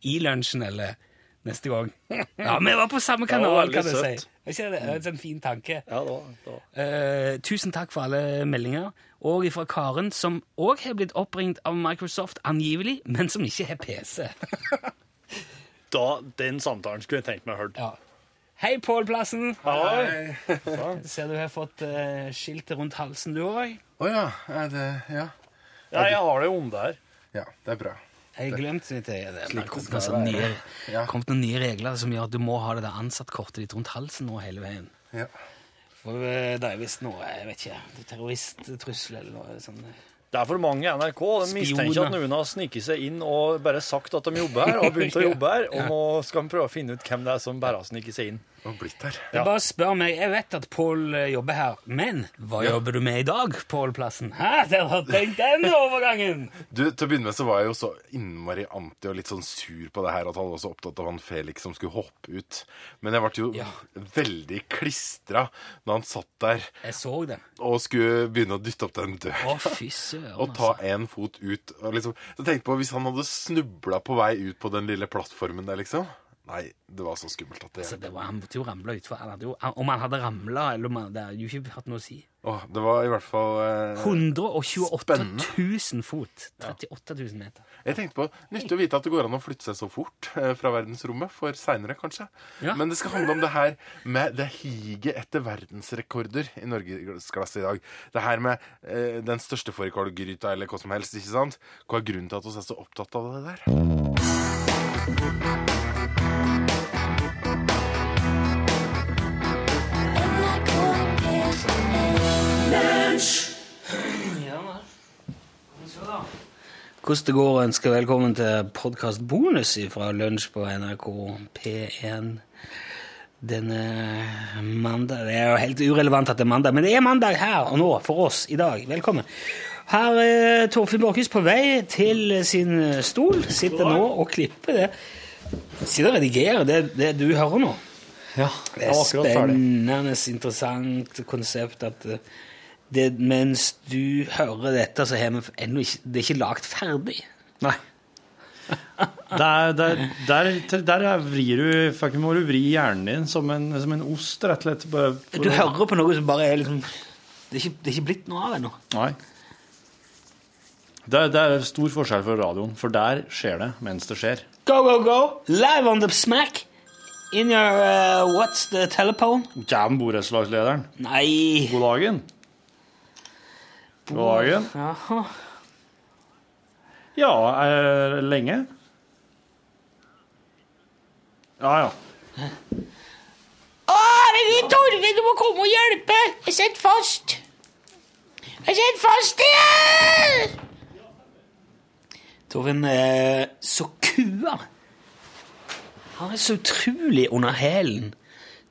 Speaker 2: i lunsjen, eller neste gang. Ja, vi var på samme kanal,
Speaker 3: veldig
Speaker 2: kan du si.
Speaker 3: søtt.
Speaker 2: Er ikke det- det er en fin tanke?
Speaker 3: Ja, det var, det var.
Speaker 2: Eh, tusen takk for alle meldinger. Og fra Karen, som òg har blitt oppringt av Microsoft, angivelig, men som ikke har PC.
Speaker 3: Da, den samtalen skulle jeg tenkt meg hørt.
Speaker 2: Ja. Hei, Pål Plassen.
Speaker 3: Hei.
Speaker 2: Ser du har fått eh, skiltet rundt halsen, du òg.
Speaker 4: Å ja. Er det Ja.
Speaker 3: Ja, jeg har det onde her.
Speaker 4: Ja, det er bra.
Speaker 2: Jeg glemte litt det. Det er kommet noen,
Speaker 4: være.
Speaker 2: sånne nye,
Speaker 4: Ja.
Speaker 2: kommet noen nye regler som gjør at du må ha det der ansattkortet ditt rundt halsen nå hele veien.
Speaker 4: Ja.
Speaker 2: For eh, det er visst noe jeg vet ikke, det er terroristtrusler eller noe sånt.
Speaker 3: Det er for mange i NRK. De mistenker
Speaker 2: Spioner.
Speaker 3: at noen har sniket seg inn og bare sagt at de jobber her, og har begynt å jobbe her, og nå skal vi prøve å finne ut hvem det er som bare har sniket seg inn.
Speaker 4: Og blitt her.
Speaker 2: Jeg Bare spør meg, jeg vet at Pål eh, jobber her, men hva jobber du med i dag, Pål Plassen? Hæ, der har tenkt den overgangen!
Speaker 4: Du, Til å begynne med så var jeg jo så innmari anti og litt sånn sur på det her at han var så opptatt av han Felix som skulle hoppe ut. Men jeg ble jo
Speaker 2: Ja.
Speaker 4: veldig klistra da han satt der
Speaker 2: Jeg så det.
Speaker 4: og skulle begynne å dytte opp den døra.
Speaker 2: Å, fy søren,
Speaker 4: Og ta
Speaker 2: altså.
Speaker 4: en fot ut. Og liksom, så tenkte jeg på Hvis han hadde snubla på vei ut på den lille plattformen der, liksom Nei, det var så skummelt at det
Speaker 2: Så Altså, det var, han måtte jo ramle utfor. Han hadde jo- Om han hadde ramla, eller om han Det hadde jo ikke hatt noe å si.
Speaker 4: Åh, det var i hvert fall eh,
Speaker 2: 128
Speaker 4: Spennende.
Speaker 2: 000 fot. 38 000 meter.
Speaker 4: Jeg tenkte på, Nyttig å vite at det går an å flytte seg så fort eh, fra verdensrommet, for seinere kanskje.
Speaker 2: Ja.
Speaker 4: Men det skal handle om det her med det higet etter verdensrekorder i norgesklasse i dag. Det her med eh, den største fårikålgryta eller hva som helst, ikke sant? Hva er grunnen til at vi er så opptatt av det der?
Speaker 2: Hvordan det går, ønsker velkommen til podkast bonus fra lunsj på NRK P1 denne mandag. Det er jo helt urelevant at det er mandag, men det er mandag her og nå for oss i dag. Velkommen. Her er Torfinn Borchhus på vei til sin stol. Sitter nå og klipper det. Sitter og redigerer det, det du hører nå.
Speaker 8: Ja,
Speaker 2: Det er spennende, interessant konsept at eh, det, mens du hører dette, så har vi ennå ikke Det er ikke lagt ferdig.
Speaker 8: Nei. Der, der, der, der er- vrir du Fucking må du vri hjernen din som en, som en ost, rett og slett. Bare,
Speaker 2: Du hører på noe som bare er liksom Det er ikke, det er ikke blitt noe av ennå.
Speaker 8: Nei. Det, er- det er stor forskjell fra radioen, for der skjer det mens det skjer.
Speaker 2: Go, go, go! Live on the smack! In your eh, What's the telephone?
Speaker 8: Jam borettslagslederen.
Speaker 2: Nei
Speaker 8: God dagen. God dagen.
Speaker 2: Jaha.
Speaker 8: Ja,
Speaker 3: eh,
Speaker 8: er det lenge? Ja, ja.
Speaker 7: Herregud, Torfinn, du må komme og hjelpe! Jeg sitter fast. Jeg sitter fast igjen!
Speaker 2: Torfinn, eh, så kua Han er så utrolig under hælen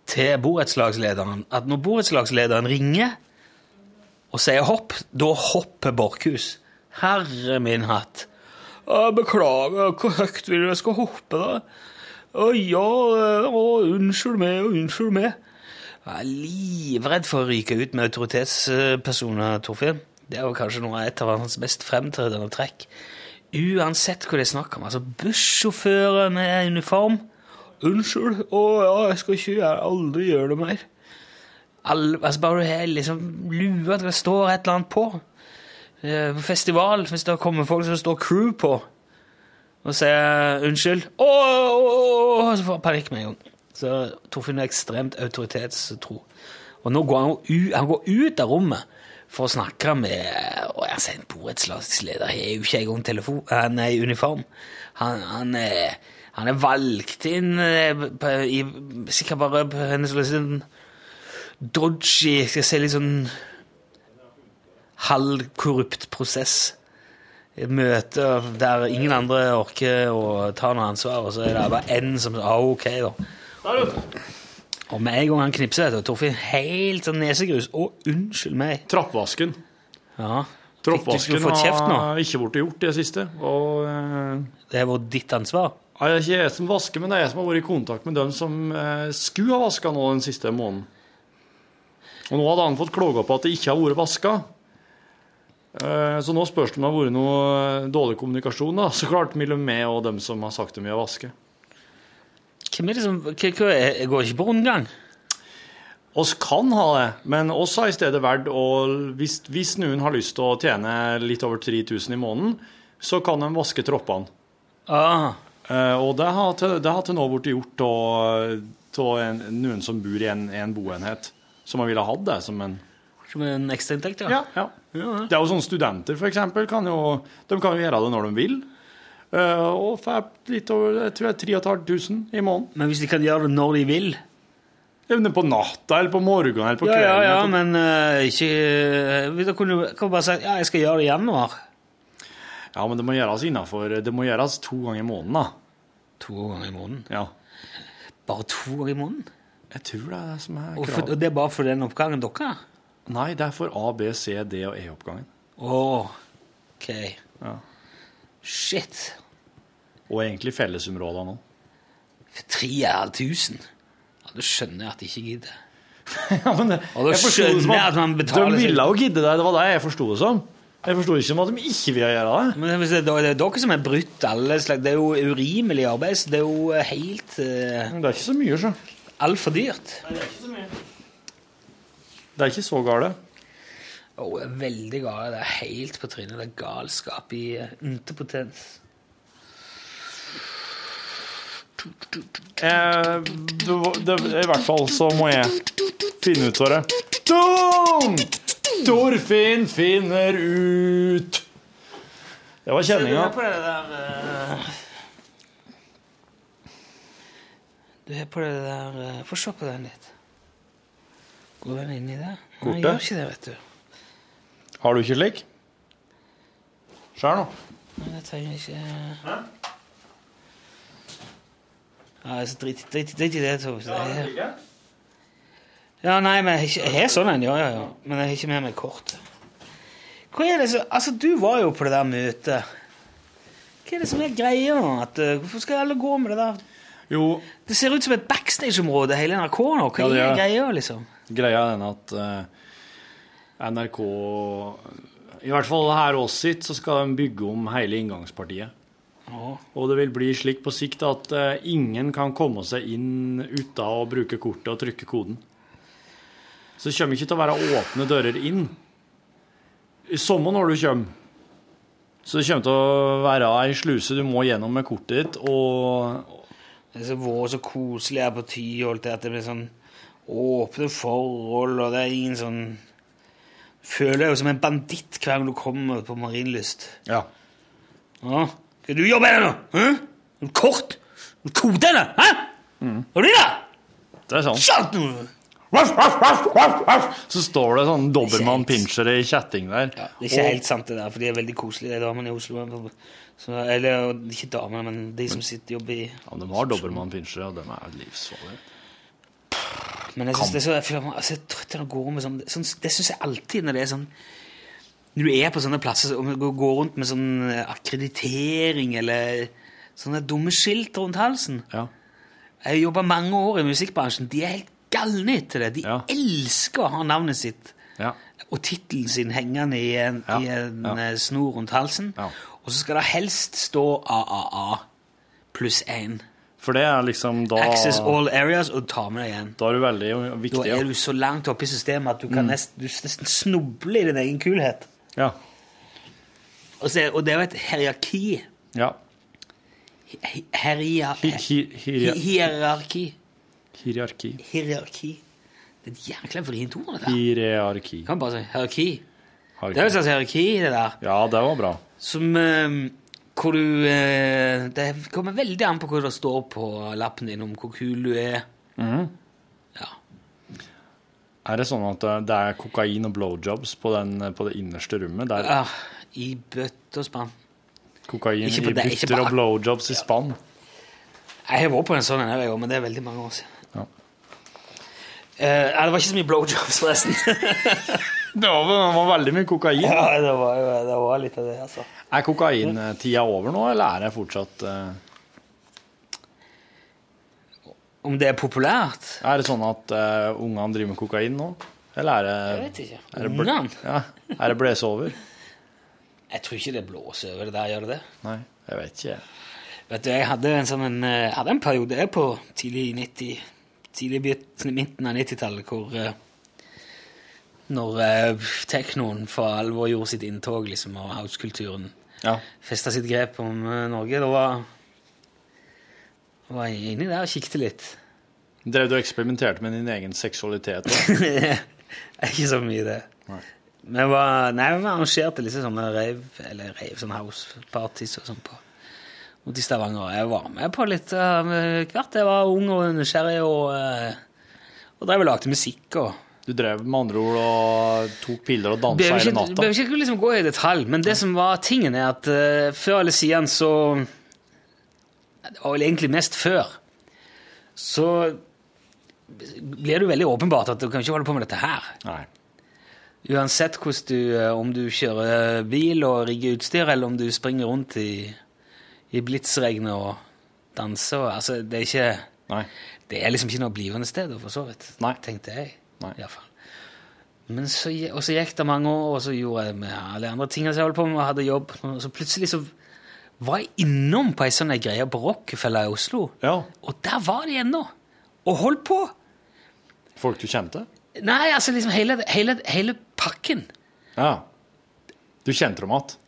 Speaker 2: til borettslagslederen at når borettslagslederen ringer og sier hopp, da hopper Borkhus. Herre min hatt. «Jeg Beklager, hvor høyt vil du jeg skal hoppe, da? Å ja, eh, å, unnskyld meg, og unnskyld meg. Jeg er livredd for å ryke ut med autoritetspersoner, Torfinn. Det er jo kanskje noe av et av hans mest fremtredende trekk. Uansett hva det er snakk om. Altså, bussjåfører med uniform. Unnskyld. Å ja, jeg skal ikke gjøre, aldri gjøre det mer. All, altså, bare du har liksom lua til det står et eller annet på. Eh, På festival, hvis det kommer folk som står crew på, og sier unnskyld Å, å, å, å, så får han panikk med en gang. Så Torfinn er ekstremt autoritetstro. Og nå går han, jo u, han går ut av rommet for å snakke med Og jeg sier, en borettslagsleder har jo ikke engang telefon Han er i uniform. Han, han, er, han er valgt inn eh, på, i, sikkert bare på en sånn dodgy Skal jeg si litt sånn halvkorrupt prosess. Et møte der ingen andre orker å ta noe ansvar, og så er det bare én som ah, OK, da. Og med en gang han knipser, vet du, Torfinn helt sånn nesegrus. Å, unnskyld meg.
Speaker 8: Trappvasken.
Speaker 2: Ja. Fikk du
Speaker 8: Trappvasken
Speaker 2: ikke fått kjeft nå?
Speaker 8: har ikke blitt gjort i det siste. Og eh,
Speaker 2: Det har vært ditt ansvar.
Speaker 8: Nei, Det er ikke jeg som vasker, men det er jeg som har vært i kontakt med dem som eh, skulle ha vaska nå den siste måneden. Og nå hadde han fått klaga på at det ikke har vært vaska. Eh, så nå spørs det om det har vært noe eh, dårlig kommunikasjon, da. Så klart mellom meg og dem som har sagt dem i å vaske.
Speaker 2: Hvem er det som hva, hva, jeg Går ikke på rundgang?
Speaker 8: Oss kan ha det, men oss har i stedet valgt å hvis, hvis noen har lyst til å tjene litt over 3000 i måneden, så kan de vaske troppene.
Speaker 2: Ah,
Speaker 8: Eh, og det har til, det har til nå blitt gjort eh, av noen som bor i en, en boenhet, som har ville hatt det som en
Speaker 2: som en ekstrainntekt, ja.
Speaker 8: ja, ja. Det er jo sånne studenter, for eksempel, kan jo, de kan jo gjøre det når de vil. Eh, og får litt over jeg tror det er 3500 i måneden.
Speaker 2: Men hvis de kan gjøre det når de vil
Speaker 8: Enten på natta eller på morgenen eller på
Speaker 2: Ja,
Speaker 8: kvelden.
Speaker 2: ja, ja,
Speaker 8: eller-
Speaker 2: men eh, ikke eh, Da kunne du kan du bare si ja, jeg skal gjøre det i januar.
Speaker 8: ja, men det må gjøres innenfor Det må gjøres to ganger i måneden, da.
Speaker 2: To ganger i måneden.
Speaker 8: Ja.
Speaker 2: Bare to ganger i måneden?
Speaker 8: Jeg tror det er det som er
Speaker 2: Og, for,
Speaker 8: kravet.
Speaker 2: og det er bare for den oppgangen dere har?
Speaker 8: Nei, det er for A, B, C, D og E-oppgangen.
Speaker 2: Å, OK.
Speaker 8: Ja.
Speaker 2: Shit.
Speaker 8: Og egentlig fellesområdene òg.
Speaker 2: For 3500? Ja, du skjønner at jeg ikke gidder.
Speaker 8: Ja, men det,
Speaker 2: Og da
Speaker 8: jeg forsto det som
Speaker 2: skjønner jeg at man betaler
Speaker 8: De
Speaker 2: seg-
Speaker 8: ville jo gidde deg, det var det jeg forsto det som.
Speaker 3: Jeg forstår ikke hva de ikke vil gjøre det.
Speaker 2: Men hvis det, er da- det er dere som er brutt alle slags. Det er jo urimelig arbeid. så Det er jo eh, helt uh,
Speaker 3: Det er ikke så mye, sjø.
Speaker 2: altfor dyrt.
Speaker 3: Det er ikke så gale.
Speaker 2: Å, jeg er veldig gal. Det er helt på trynet. Det er galskap i eh, unterpotens.
Speaker 3: Eh, det, var- det, I hvert fall så må jeg finne ut av det. Tom! Torfinn finner ut. Det var kjenninga.
Speaker 2: Du er på det der eh, Du er på det der eh, Få se på den litt. Går den inn i det? Nei,
Speaker 3: Kortet?
Speaker 2: gjør ikke det, vet du.
Speaker 3: Har du ikke slik? Skjær nå.
Speaker 2: Nei, det trenger ikke Hæ? Nei, så drit, drit, drit i det, Tove. Det er- Ja, nei, men jeg har ikke- jeg har sånn en, ja, ja, ja. Men jeg har ikke med meg kortet. Hva er det så, altså, du var jo på det der møtet. Hva er det som er greia nå? At, eh, hvorfor skal alle gå med det der
Speaker 3: Jo,
Speaker 2: Det ser ut som et backstage-område, hele NRK nå. Hva
Speaker 3: Ja, det
Speaker 2: er
Speaker 3: gjør det.
Speaker 2: greia, liksom?
Speaker 3: Greia er den at eh, NRK I hvert fall her oss sitt, så skal de bygge om hele inngangspartiet.
Speaker 2: Ja.
Speaker 3: Og det vil bli slik på sikt at eh, ingen kan komme seg inn uten å bruke kortet og trykke koden. Så det kommer ikke til å være åpne dører inn. I sommer når du kommer. Så det kommer til å være ei sluse du må gjennom med kortet ditt, og,
Speaker 2: Det er så vår så koselig her på Tyholt, at det blir sånn åpne forhold, og det er ingen sånn Føler jeg jo som en banditt hver gang du kommer på Marienlyst.
Speaker 3: Ja.
Speaker 2: Ja. Skal du jobbe her nå? Hæ? En kort? En kode, eller? Hæ? Har du det?
Speaker 3: Mm. Det er sant.
Speaker 2: Kjørt nå!
Speaker 3: Ruff, ruff, ruff, ruff, ruff. Så står det sånn Dobermann-pinsjer i kjetting der.
Speaker 2: Det er ikke
Speaker 3: Og-
Speaker 2: helt sant, det der, for de er veldig koselige, de damene i Oslo. Så, eller ikke damene, men de som sitter og jobber i
Speaker 3: Ja, de har Dobermann-pinsjer, og de er livsfarlige.
Speaker 2: Men jeg synes det er så, jeg føler meg, altså, jeg er trøtt av å gå med sånn, sånn Det syns jeg alltid når det er sånn Når du er på sånne plasser så- og går går rundt med sånn eh, akkreditering eller sånne dumme skilt rundt halsen
Speaker 3: Ja.
Speaker 2: Jeg har jobba mange år i musikkbransjen. De er helt galne til det. De
Speaker 3: Ja.
Speaker 2: elsker å ha navnet sitt
Speaker 3: Ja.
Speaker 2: og tittelen sin hengende i en,
Speaker 3: Ja,
Speaker 2: i en
Speaker 3: ja.
Speaker 2: eh, snor rundt halsen.
Speaker 3: Ja.
Speaker 2: Og så skal det helst stå AAA pluss én.
Speaker 3: For det er liksom da
Speaker 2: Access all areas, og ta med deg igjen.
Speaker 3: Da er du veldig
Speaker 2: Da
Speaker 3: viktig.
Speaker 2: er
Speaker 3: Ja. Mm.
Speaker 2: du så langt oppe i systemet at du kan nest, du nesten snuble i din egen kulhet.
Speaker 3: Ja.
Speaker 2: Og, så, er- og det er jo et hierarki.
Speaker 3: ja.
Speaker 2: Hi- Heria,
Speaker 3: Hi, hi,
Speaker 2: hi,
Speaker 3: hieria-
Speaker 2: hierarki.
Speaker 3: hierarki.
Speaker 2: Hierarki. Det er et jækla vrient ord, dette. her.
Speaker 3: Hierarki.
Speaker 2: Du kan bare si hierarki.
Speaker 3: Har
Speaker 2: Det er jo et
Speaker 3: ikke-
Speaker 2: slags hierarki, det der.
Speaker 3: Ja, det var bra.
Speaker 2: Som eh, Hvor du eh, Det kommer veldig an på hva det står på lappen din om hvor kul du er. Ja.
Speaker 3: Er det sånn at eh, det er kokain og blowjobs på, den, på det innerste rommet? Det er
Speaker 2: Ah, I bøtte og spann.
Speaker 3: kokain
Speaker 2: Ikke på
Speaker 3: i
Speaker 2: det, ikke
Speaker 3: bytter
Speaker 2: på-
Speaker 3: og blowjobs i spann?
Speaker 2: Jeg har vært på en sånn en, jeg òg, men det er veldig mange år siden.
Speaker 3: Ja.
Speaker 2: Eh, ja, det var ikke så mye blowjobs, forresten.
Speaker 3: Det var, det var veldig mye kokain.
Speaker 2: ja, det var, jo, det var litt av det, altså.
Speaker 3: Er kokaintida over nå, eller er det fortsatt eh,
Speaker 2: Om det er populært?
Speaker 3: Er det sånn at eh, ungene driver med kokain nå? Eller er det,
Speaker 2: Jeg vet ikke.
Speaker 3: er det, bl-
Speaker 2: Ungene?
Speaker 3: ja, er det blåse over?
Speaker 2: Jeg tror ikke det blåser over det der, gjør det det?
Speaker 3: Nei, jeg vet ikke.
Speaker 2: Vet du, jeg hadde en sånn en, eh, hadde en periode jeg på tidlig 90, tidlig begynt- midten av 90-tallet hvor eh, Når eh, teknoen for alvor gjorde sitt inntog, liksom, og housekulturen
Speaker 3: Ja.
Speaker 2: festa sitt grep om eh, Norge, da var, var jeg inni der og kikket litt.
Speaker 3: Drev du og eksperimenterte med din egen seksualitet? da?
Speaker 2: er ikke så mye det. Men jeg var, nei, vi arrangerte liksom sånne rave, eller rave, sånne house parties og sånn på ute i Stavanger. Jeg var med på litt av hvert. Jeg var ung og nysgjerrig og, eh, og drev og lagde musikk og
Speaker 3: Du drev med andre ord og tok piller og dansa
Speaker 2: Behøver
Speaker 3: hele
Speaker 2: ikke,
Speaker 3: natta?
Speaker 2: behøver ikke liksom gå i detalj, men det som var tingen, er at eh, før eller siden så Det var vel egentlig mest før. Så blir det jo veldig åpenbart at du kan ikke holde på med dette her.
Speaker 3: Nei.
Speaker 2: Uansett hvordan du, eh, om du kjører bil og rigger utstyr, eller om du springer rundt i, i blitsregnet og danser og, altså, det, er ikke,
Speaker 3: Nei.
Speaker 2: det er liksom ikke noe blivende sted, for så vidt,
Speaker 3: Nei.
Speaker 2: tenkte jeg.
Speaker 3: Nei.
Speaker 2: i hvert fall. Men så, gi- og så gikk det mange år, og så gjorde jeg med alle andre tingene som jeg holdt på med, og hadde jobb. Og så plutselig så var jeg innom på ei sånn der greie på Rockefeller i Oslo. Og der var de ennå! Og holdt på!
Speaker 3: Folk du kjente?
Speaker 2: Nei, altså liksom hele, hele, hele pakken.
Speaker 3: Ja. Du kjente dem igjen?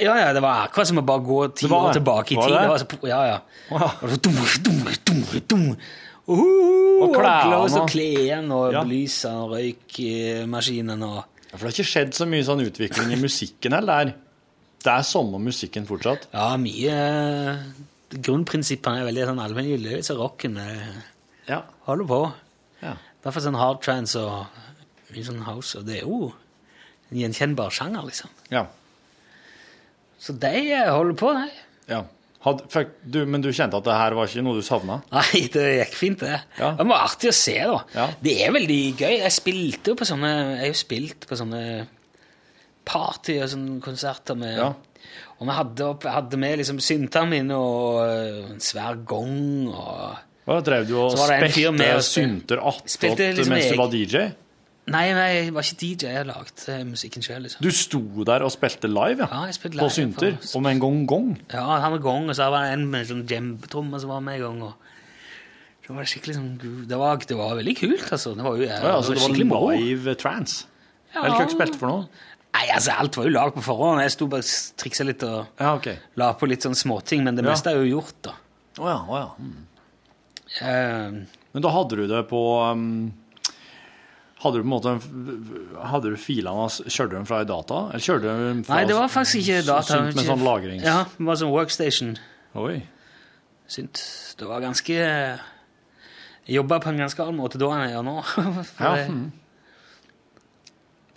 Speaker 2: Ja, ja, det var akkurat som å bare gå ti
Speaker 3: Det var
Speaker 2: år
Speaker 3: det.
Speaker 2: tilbake i
Speaker 3: Var
Speaker 2: tid.
Speaker 3: det?
Speaker 2: Det var så, po- ja, ja.
Speaker 3: Wow.
Speaker 2: Og så dum, dum, dum, dum. Uhuhu,
Speaker 3: Og klærne.
Speaker 2: håndglass Og klærne og
Speaker 3: Ja.
Speaker 2: lysene og røykmaskinen og
Speaker 3: Ja, For det har ikke skjedd så mye sånn utvikling i musikken heller der. Det er samme musikken fortsatt.
Speaker 2: Ja, mye eh, Grunnprinsippene er veldig sånn allmenngyldige, så rocken eh,
Speaker 3: Ja.
Speaker 2: holder på.
Speaker 3: Ja.
Speaker 2: Derfor sånn hard trance og mye sånn house, og det er jo en gjenkjennbar sjanger, liksom.
Speaker 3: Ja.
Speaker 2: Så de eh, holder på, de.
Speaker 3: ja. Hadde, fikk, du, men du kjente at det her var ikke noe du savna?
Speaker 2: Nei, det gikk fint, det.
Speaker 3: Ja.
Speaker 2: Det var artig å se, da.
Speaker 3: Ja.
Speaker 2: Det er veldig gøy. Jeg spilte jo på sånne Jeg har jo spilt på sånne party og sånne konserter med
Speaker 3: Ja.
Speaker 2: Og vi hadde, opp- hadde med liksom syntene mine og eh, en svær gong og
Speaker 3: Hva Drev du og
Speaker 2: Så var det en fyr med
Speaker 3: spilte
Speaker 2: og spil-
Speaker 3: synter attåt
Speaker 2: Spilte liksom
Speaker 3: mens
Speaker 2: jeg-
Speaker 3: du var DJ?
Speaker 2: Nei, nei, jeg var ikke DJ. Jeg lagde eh, musikken sjøl, liksom.
Speaker 3: Du sto der og spilte live,
Speaker 2: Ja, jeg spilte
Speaker 3: På
Speaker 2: live,
Speaker 3: synter?
Speaker 2: faen.
Speaker 3: Og med en gong gong?
Speaker 2: Ja, han var gong, og så var det en med sånn jam-tromme som var med en gang. og det var skikkelig sånn gu- Det var, det var veldig kult, altså. Det var jo
Speaker 3: Ja, altså,
Speaker 2: det
Speaker 3: det
Speaker 2: var
Speaker 3: var
Speaker 2: skikkelig moro.
Speaker 3: live trans? Eller hva dere spilte for noe?
Speaker 2: Nei, altså, alt var jo lagd på forhånd. Jeg sto bare og triksa litt og
Speaker 3: Ja, ok.
Speaker 2: la på litt sånn småting, men det
Speaker 3: Ja.
Speaker 2: meste er jo gjort, da.
Speaker 3: Å ja, å ja. Mm.
Speaker 2: Eh,
Speaker 3: Men da hadde du det på um, Hadde du på en måte Hadde du filene hans Kjørte du dem fra i data? Eller kjørte du dem fra
Speaker 2: nei, det var faktisk ikke data.
Speaker 3: Synt med sånn lagrings...
Speaker 2: Ja, det var sånn workstation.
Speaker 3: Oi.
Speaker 2: Synt. Det var ganske Jeg jobba på en ganske annen måte da enn jeg gjør nå. For
Speaker 3: Ja.
Speaker 2: det-
Speaker 3: mm.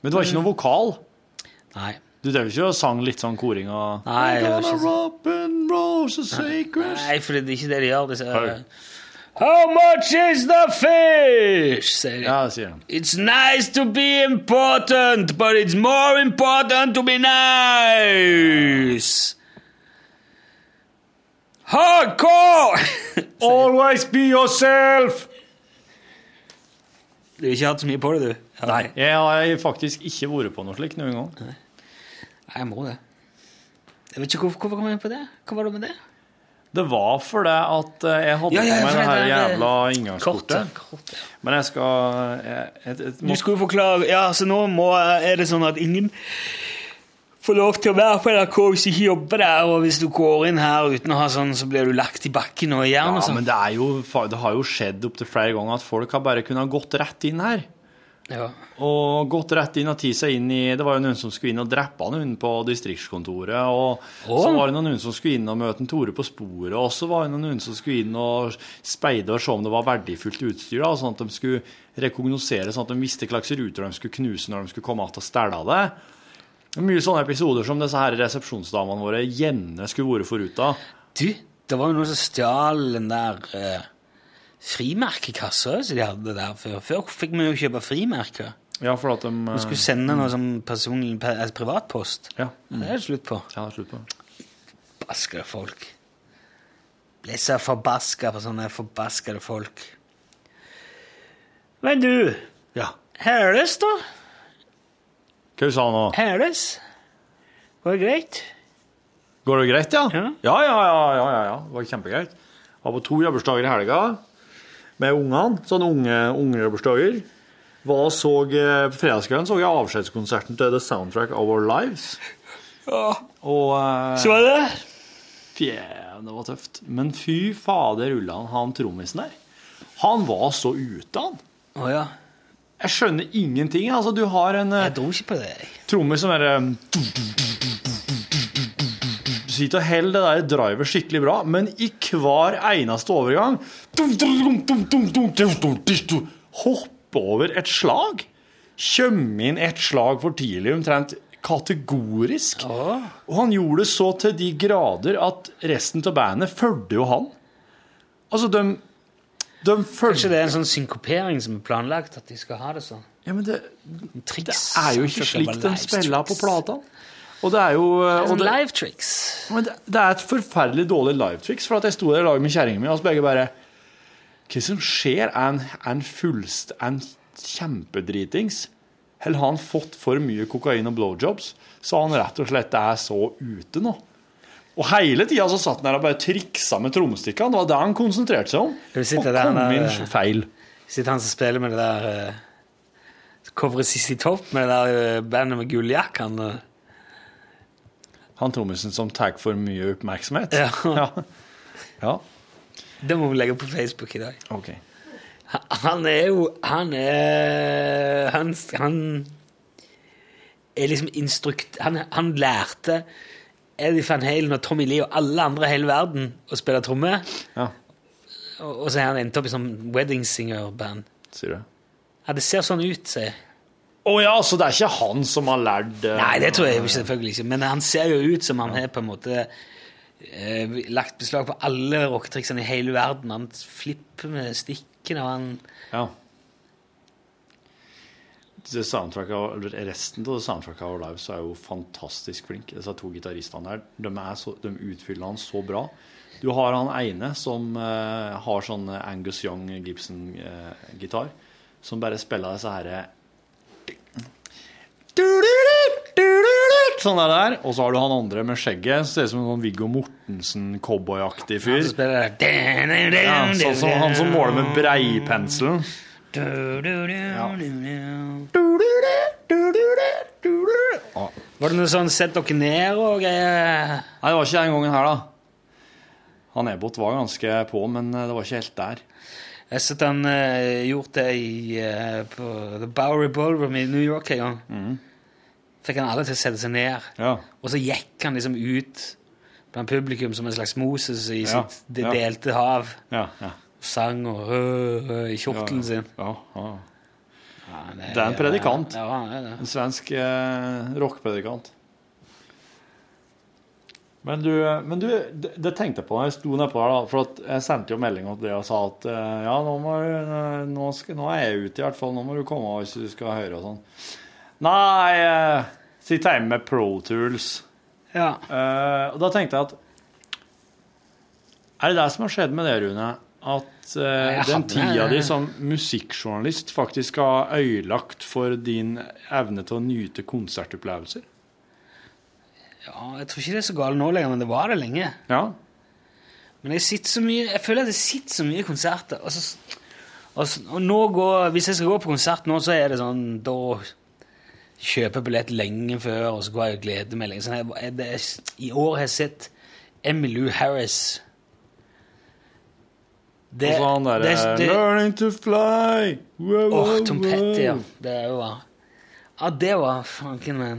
Speaker 3: Men det var ikke noe vokal?
Speaker 2: Nei.
Speaker 3: Du drev ikke og sang litt sånn koring og
Speaker 2: Nei, det var
Speaker 3: Gonna
Speaker 2: ikke-
Speaker 3: rock and roll so sacred
Speaker 2: Nei, for det er ikke det de gjør. Disse,
Speaker 3: Hei.
Speaker 2: How much is the fish? sier de.
Speaker 3: Ja, det sier han.
Speaker 2: It's nice to be important, but it's more important to be nice. Hardcore!
Speaker 3: Always be yourself!
Speaker 2: Du har ikke hatt så mye på det, du? Nei.
Speaker 3: Jeg har faktisk ikke vært på noe slikt noen gang.
Speaker 2: Jeg må det. Jeg vet ikke hvorfor, hvorfor kom jeg inn på det? Hva var det med det?
Speaker 3: Det var fordi at eh, jeg hadde
Speaker 2: Ja, ja,
Speaker 3: med
Speaker 2: for
Speaker 3: det her
Speaker 2: det er det-
Speaker 3: jævla
Speaker 2: Kortet.
Speaker 3: inngangskortet. Men jeg skal jeg, jeg, jeg,
Speaker 2: Du skulle jo forklare Ja, så nå må, er det sånn at ingen får lov til å være på NRK hvis du ikke jobber der, og hvis du går inn her uten å ha sånn, så blir du lagt i bakken og i jern og
Speaker 3: Ja,
Speaker 2: sånn.
Speaker 3: men det, er jo, fa- det har jo skjedd opptil flere ganger at folk har bare kunnet gått rett inn her.
Speaker 2: Ja.
Speaker 3: Og gått rett inn og tatt seg inn i Det var jo noen som skulle inn og drepe noen på distriktskontoret. Og så
Speaker 2: Åh.
Speaker 3: var det noen som skulle inn og møte en Tore på sporet. Og så var det noen som skulle inn og speide og se om det var verdifullt utstyr. Da, sånn at de skulle rekognosere, sånn at de visste hva slags ruter de skulle knuse når de skulle komme tilbake og stjele det. Det er Mye sånne episoder som disse her resepsjonsdamene våre gjerne skulle vært foruten.
Speaker 2: Du, det var jo noen som stjal den der eh, frimerkekassa som de hadde der før. Før fikk vi jo kjøpe frimerker.
Speaker 3: Ja, for at de eh,
Speaker 2: Vi skulle sende noe som personlig, per, altså privatpost.
Speaker 3: Ja.
Speaker 2: Det er det slutt på.
Speaker 3: Ja, det er slutt på. det.
Speaker 2: Forbaskede folk. Ble så forbaska på sånne forbaskede folk. Men du,
Speaker 3: Ja.
Speaker 2: Hæles, da?
Speaker 3: Hva sa han nå?
Speaker 2: Hæles? Går det greit?
Speaker 3: Går det greit, ja?
Speaker 2: Ja.
Speaker 3: Ja, ja, ja. ja, ja, ja. Det var kjempegreit. Jeg var på to jobbursdager i helga med ungene. Sånne unge ungejobbursdager. Var og så, eh, På fredagskvelden så jeg avskjedskonserten til The Soundtrack of Our Lives. Og eh,
Speaker 2: var det?
Speaker 3: fjæren, det var tøft. Men fy fader, Ulland, han trommisen der. Han var så ute, han.
Speaker 2: Å ja.
Speaker 3: Jeg skjønner ingenting. Altså, du har en eh,
Speaker 2: Jeg dro ikke på det. jeg.
Speaker 3: trommer som er um, Sitter og holder det der drivet skikkelig bra, men i hver eneste overgang Hoppe over et slag. Kjømme inn et slag for tidlig, omtrent kategorisk. Og han gjorde det så til de grader at resten av bandet fulgte jo han. Altså, de, de
Speaker 2: Kanskje
Speaker 3: fulgte
Speaker 2: det er en sånn synkopering som er planlagt, at de skal ha det sånn?
Speaker 3: ja, men det, det
Speaker 2: Triks.
Speaker 3: er jo
Speaker 2: Kanskje
Speaker 3: ikke slik
Speaker 2: bare
Speaker 3: de
Speaker 2: live
Speaker 3: spiller på
Speaker 2: tricks.
Speaker 3: platene. Og det er jo
Speaker 2: Det er
Speaker 3: og
Speaker 2: Sånn
Speaker 3: det,
Speaker 2: live tricks.
Speaker 3: Men det, det er et forferdelig dårlig livetriks, for at jeg sto der i lag med kjerringa mi, og så begge bare Hva som skjer? Er en, er en fullst... Er en kjempedritings? Eller har han fått for mye kokain og blowjobs, så han rett og slett er så ute nå. Og hele tida så satt han der og bare triksa med trommestikkene. Det var det han konsentrerte seg om.
Speaker 2: Du sitter
Speaker 3: og
Speaker 2: der,
Speaker 3: kom
Speaker 2: han er-
Speaker 3: inn feil.
Speaker 2: Sitter han som spiller med det der uh, coveret Sissy Topp med det der eh, bandet med gulljakk? Han eh,
Speaker 3: Han trommisen som tar for mye oppmerksomhet.
Speaker 2: Ja.
Speaker 3: Ja.
Speaker 2: Det må vi legge på Facebook i dag.
Speaker 3: Ok.
Speaker 2: Han- Han er jo Han er Han, han er liksom instrukt... Han, han lærte Eddie van Halen og Tommy Lee og alle andre i hele verden å spille tromme.
Speaker 3: Ja.
Speaker 2: Og, og så er han endt opp i sånn wedding singer-band.
Speaker 3: Sier du.
Speaker 2: Ja, det ser sånn ut, sier jeg.
Speaker 3: Å ja, så det er ikke han som har lært eh,
Speaker 2: Nei, det tror jeg jo ikke, selvfølgelig ikke. Men han ser jo ut som han har på en måte eh, lagt beslag på alle rocketriksene i hele verden. Han flipper med stikkene, og han
Speaker 3: Ja. Det soundtracket, av- eller resten av det soundtracket av Lives er jo fantastisk flink. Disse to gitaristene her, de, er så, de utfyller han så bra. Du har han ene som eh, har sånn Angus Young Gibson-gitar, som bare spiller disse eh, herre Sånn er det der. Og så har du han andre med skjegget, som ser ut som en sånn Viggo Mortensen-cowboyaktig fyr.
Speaker 2: så spiller det
Speaker 3: Ja, sånn som han som måler med breipenselen.
Speaker 2: Var det noe sånn 'sett dere ned' og greier?
Speaker 3: Nei, det var ikke den gangen her, da. Han Ebot var ganske på, men eh, det var ikke helt der.
Speaker 2: Jeg har sett han eh, gjort det i, eh, på The Bowery Ballroom i New York en gang.
Speaker 3: Mm.
Speaker 2: Fikk han alle til å sette seg ned.
Speaker 3: Ja.
Speaker 2: Og så gikk han liksom ut blant publikum som en slags Moses i
Speaker 3: Ja,
Speaker 2: sitt det
Speaker 3: ja.
Speaker 2: delte hav.
Speaker 3: Ja, ja.
Speaker 2: Og sang og hø, hø, i kjortelen sin.
Speaker 3: ja, ja.
Speaker 2: Ja,
Speaker 3: Det er en predikant.
Speaker 2: Ja, han er det.
Speaker 3: En svensk eh, rockpredikant. Men du, men du det, det tenkte jeg på da jeg sto nedpå der, da. For at jeg sendte jo melding til deg og sa at eh, ja, nå, må, du- nå, skal, nå er jeg ute, i hvert fall. Nå må du komme hvis du skal høre og sånn. Nei, eh, sitt hjemme med Pro Tools.
Speaker 2: Ja.
Speaker 3: Eh, og da tenkte jeg at Er det det som har skjedd med det, Rune? At eh,
Speaker 2: jeg
Speaker 3: den
Speaker 2: hadde-
Speaker 3: tida di som musikkjournalist faktisk har øyelagt for din evne til å nyte konsertopplevelser?
Speaker 2: ja, jeg tror ikke det er så galt nå lenger, men det var det lenge.
Speaker 3: Ja.
Speaker 2: Men jeg sitter så mye Jeg føler at jeg sitter så mye i konserter. Og, så, og, så, og nå går, hvis jeg skal gå på konsert nå, så er det sånn Da kjøper jeg billett lenge før, og så går jeg og gleder meg lenge. Sånn, jeg, jeg, det, er- I år har jeg sett Emmylou Harris. Det,
Speaker 3: og så han derre
Speaker 2: det- det-
Speaker 3: 'Learning to fly'. Wow,
Speaker 2: Åh,
Speaker 3: wow,
Speaker 2: Tom
Speaker 3: wow.
Speaker 2: Petty, ja. Det er jo bare Ja, det var fanken meg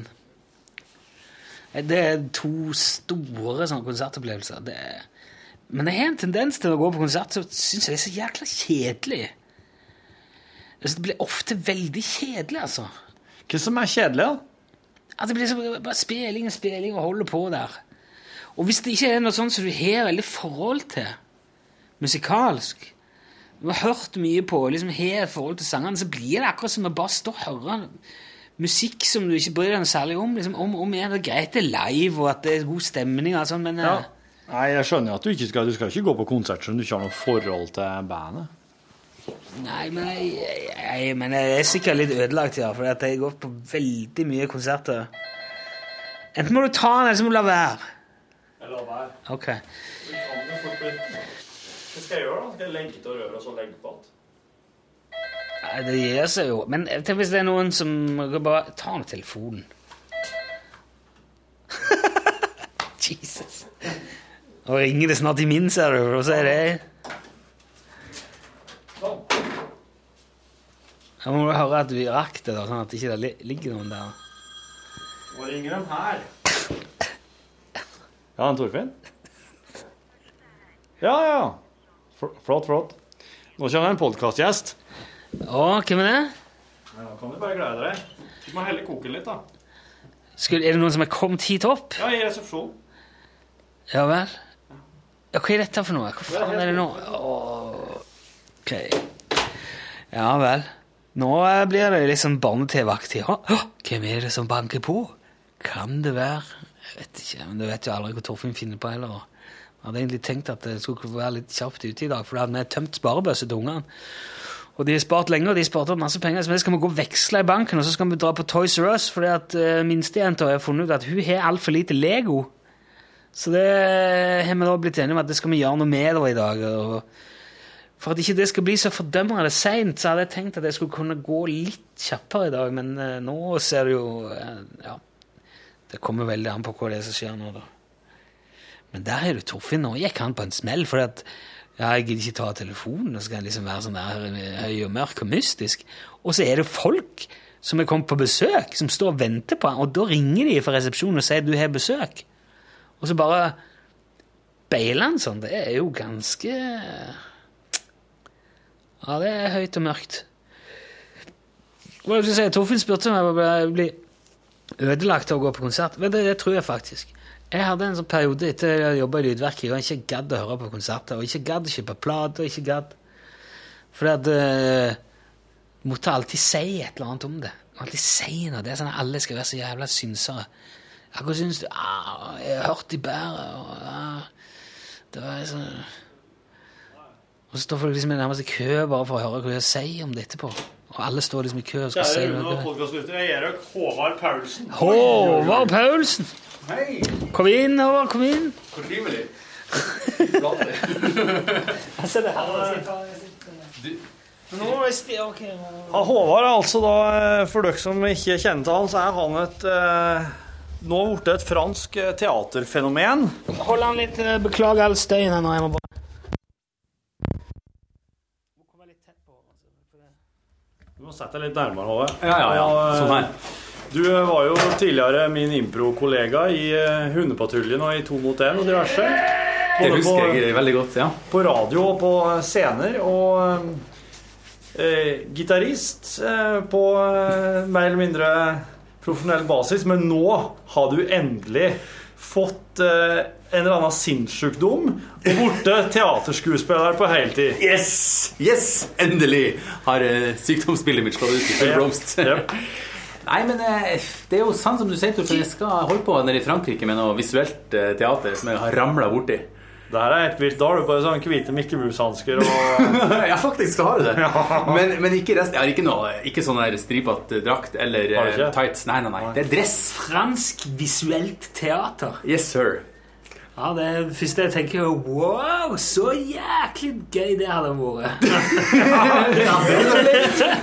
Speaker 2: en Det er to store sånne konsertopplevelser. Det er... Men jeg har en tendens til å gå på konsert så syns jeg det er så jækla kjedelig. Altså, det blir ofte veldig kjedelig, altså.
Speaker 3: Hva som er kjedelig, da?
Speaker 2: At det blir så, bare spilling og spilling og holder på der. Og hvis det ikke er noe sånt som du har veldig forhold til musikalsk Du har hørt mye på og liksom har et forhold til sangene, så blir det akkurat som å bare stå og høre musikk som du ikke bryr deg noe særlig om. Liksom, om, om igjen, det er greit det er live, og at det er god stemning, og sånn, men
Speaker 3: Ja.
Speaker 2: eh,
Speaker 3: Nei, jeg skjønner jo at du ikke skal Du skal ikke gå på konsert som du ikke har noe forhold til bandet.
Speaker 2: Nei, men jeg, jeg, jeg, men jeg er sikkert litt ødelagt, ja. For jeg har gått på veldig mye konserter. Enten må du ta den, eller så må du la være.
Speaker 3: Jeg lar være.
Speaker 2: Ok.
Speaker 3: Hva skal jeg gjøre, da? Skal jeg legge til røret og så legge på alt?
Speaker 2: Nei, det gir seg jo. Men tenk hvis det er noen som bare tar den telefonen. Jesus. Og ringer det snart i min, ser du, og så er det Jeg må jo høre at vi rakk det, da, sånn at ikke det li- ligger noen der.
Speaker 3: Nå ringer de her. Ja, en Torfinn? Ja, ja. Fl- Flott, flott. Nå kommer det en podkastgjest.
Speaker 2: Å, hvem er det?
Speaker 3: Ja, kan du bare glede deg. Du må helle koken litt, da.
Speaker 2: Skulle, er det noen som er kommet hit opp?
Speaker 3: Ja, i resepsjonen.
Speaker 2: Ja vel. Ja, hva er dette for noe? Hva faen er det nå? Åh, Ok. Ja vel. Nå eh, blir det liksom barne-TV-aktig. Å, å, Hvem er det som banker på? Kan det være Jeg vet ikke, men du vet jo aldri hva Torfinn finner på heller. Jeg hadde egentlig tenkt at jeg skulle være litt kjapt ute i dag, for da hadde vi tømt sparebøsse til ungene. Og de har spart lenge, og de har spart opp masse penger. Så vi skal vi gå og veksle i banken, og så skal vi dra på Toys R Us, fordi at uh, minstejenta har funnet ut at hun har altfor lite Lego. Så det har vi da blitt enige om at det skal vi gjøre noe med da i dag. Og for at ikke det skal bli så fordømmende seint, så hadde jeg tenkt at jeg skulle kunne gå litt kjappere i dag, men eh, nå ser det jo eh, Ja. Det kommer veldig an på hva det er som skjer nå, da. Men der er du Torfinn. Nå gikk han på en smell. For at, ja, jeg gidder ikke ta telefonen, og så kan jeg liksom være sånn der eh, høy og mørk og mystisk. Og så er det folk som er kommet på besøk, som står og venter på han, og da ringer de fra resepsjonen og sier du har besøk. Og så bare beiler han sånn. Det er jo ganske Ja, det er høyt og mørkt. Hva skal jeg si? Torfinn spurte om jeg ble- ble ødelagt av å gå på konsert. Men det, det tror jeg faktisk. Jeg hadde en sånn periode etter jeg jobba i Lydverket, og jeg ikke gadd å høre på konserter, og ikke gadd å kjøpe plater, og ikke gadd Fordi at eh, Måtte alltid si et eller annet om det. Alltid si noe. Det er sånn at alle skal være så jævla synsere. Ja, hva syns du? Ah, jeg har hørt de bærer, og ah, Det var sånn Og så står folk liksom nærmest i kø bare for å høre hva jeg sier om det etterpå. Og alle står liksom i kø og skal si noe.
Speaker 3: Jeg er Røk Håvard Paulsen.
Speaker 2: Håvard Paulsen! Kom inn, Håvard. Kom inn.
Speaker 10: Trivelig.
Speaker 3: Ja, Håvard er altså da, eh, for dere som ikke kjenner til han, så er han et eh, nå blitt et fransk eh, teaterfenomen.
Speaker 2: Hold han litt. eh, Beklager all støyen her nå. Jeg må bare
Speaker 3: Du må sette deg litt nærmere, Håvard.
Speaker 2: Ja, ja, ja.
Speaker 3: Og, eh,
Speaker 2: Sånn her.
Speaker 3: Du eh, var jo tidligere min impro-kollega i eh, Hundepatruljen og i To mot én og diverse.
Speaker 10: Det
Speaker 3: Både
Speaker 10: husker
Speaker 3: på-
Speaker 10: jeg veldig godt, ja.
Speaker 3: på radio og på scener. Og eh, gitarist eh, på eh, mer eller mindre profesjonell basis. Men nå har du endelig fått eh, en eller annen sinnssykdom og borte teaterskuespiller på heltid.
Speaker 10: Yes! Yes! Endelig har eh, sykdomsbildet mitt slått ut i full blomst. Nei, men eh, det er jo sant som du sier, Torfinn. Jeg skal holde på nede i Frankrike med noe visuelt eh, teater som jeg har ramla borti.
Speaker 3: Det her er helt vilt. Da har du bare sånne hvite Mikke Mus-hansker og
Speaker 10: ja, faktisk skal jeg ha det. Men, men ikke resten. Jeg har ikke noe Ikke sånn der stripete drakt eller
Speaker 3: Har du
Speaker 10: eh,
Speaker 3: ikke?
Speaker 10: tights. Nei, nei, nei. Det er dress.
Speaker 2: Fransk visuelt teater.
Speaker 10: Yes, sir.
Speaker 2: Ja, Det er det første jeg tenker er Wow, så jæklig gøy det hadde vært.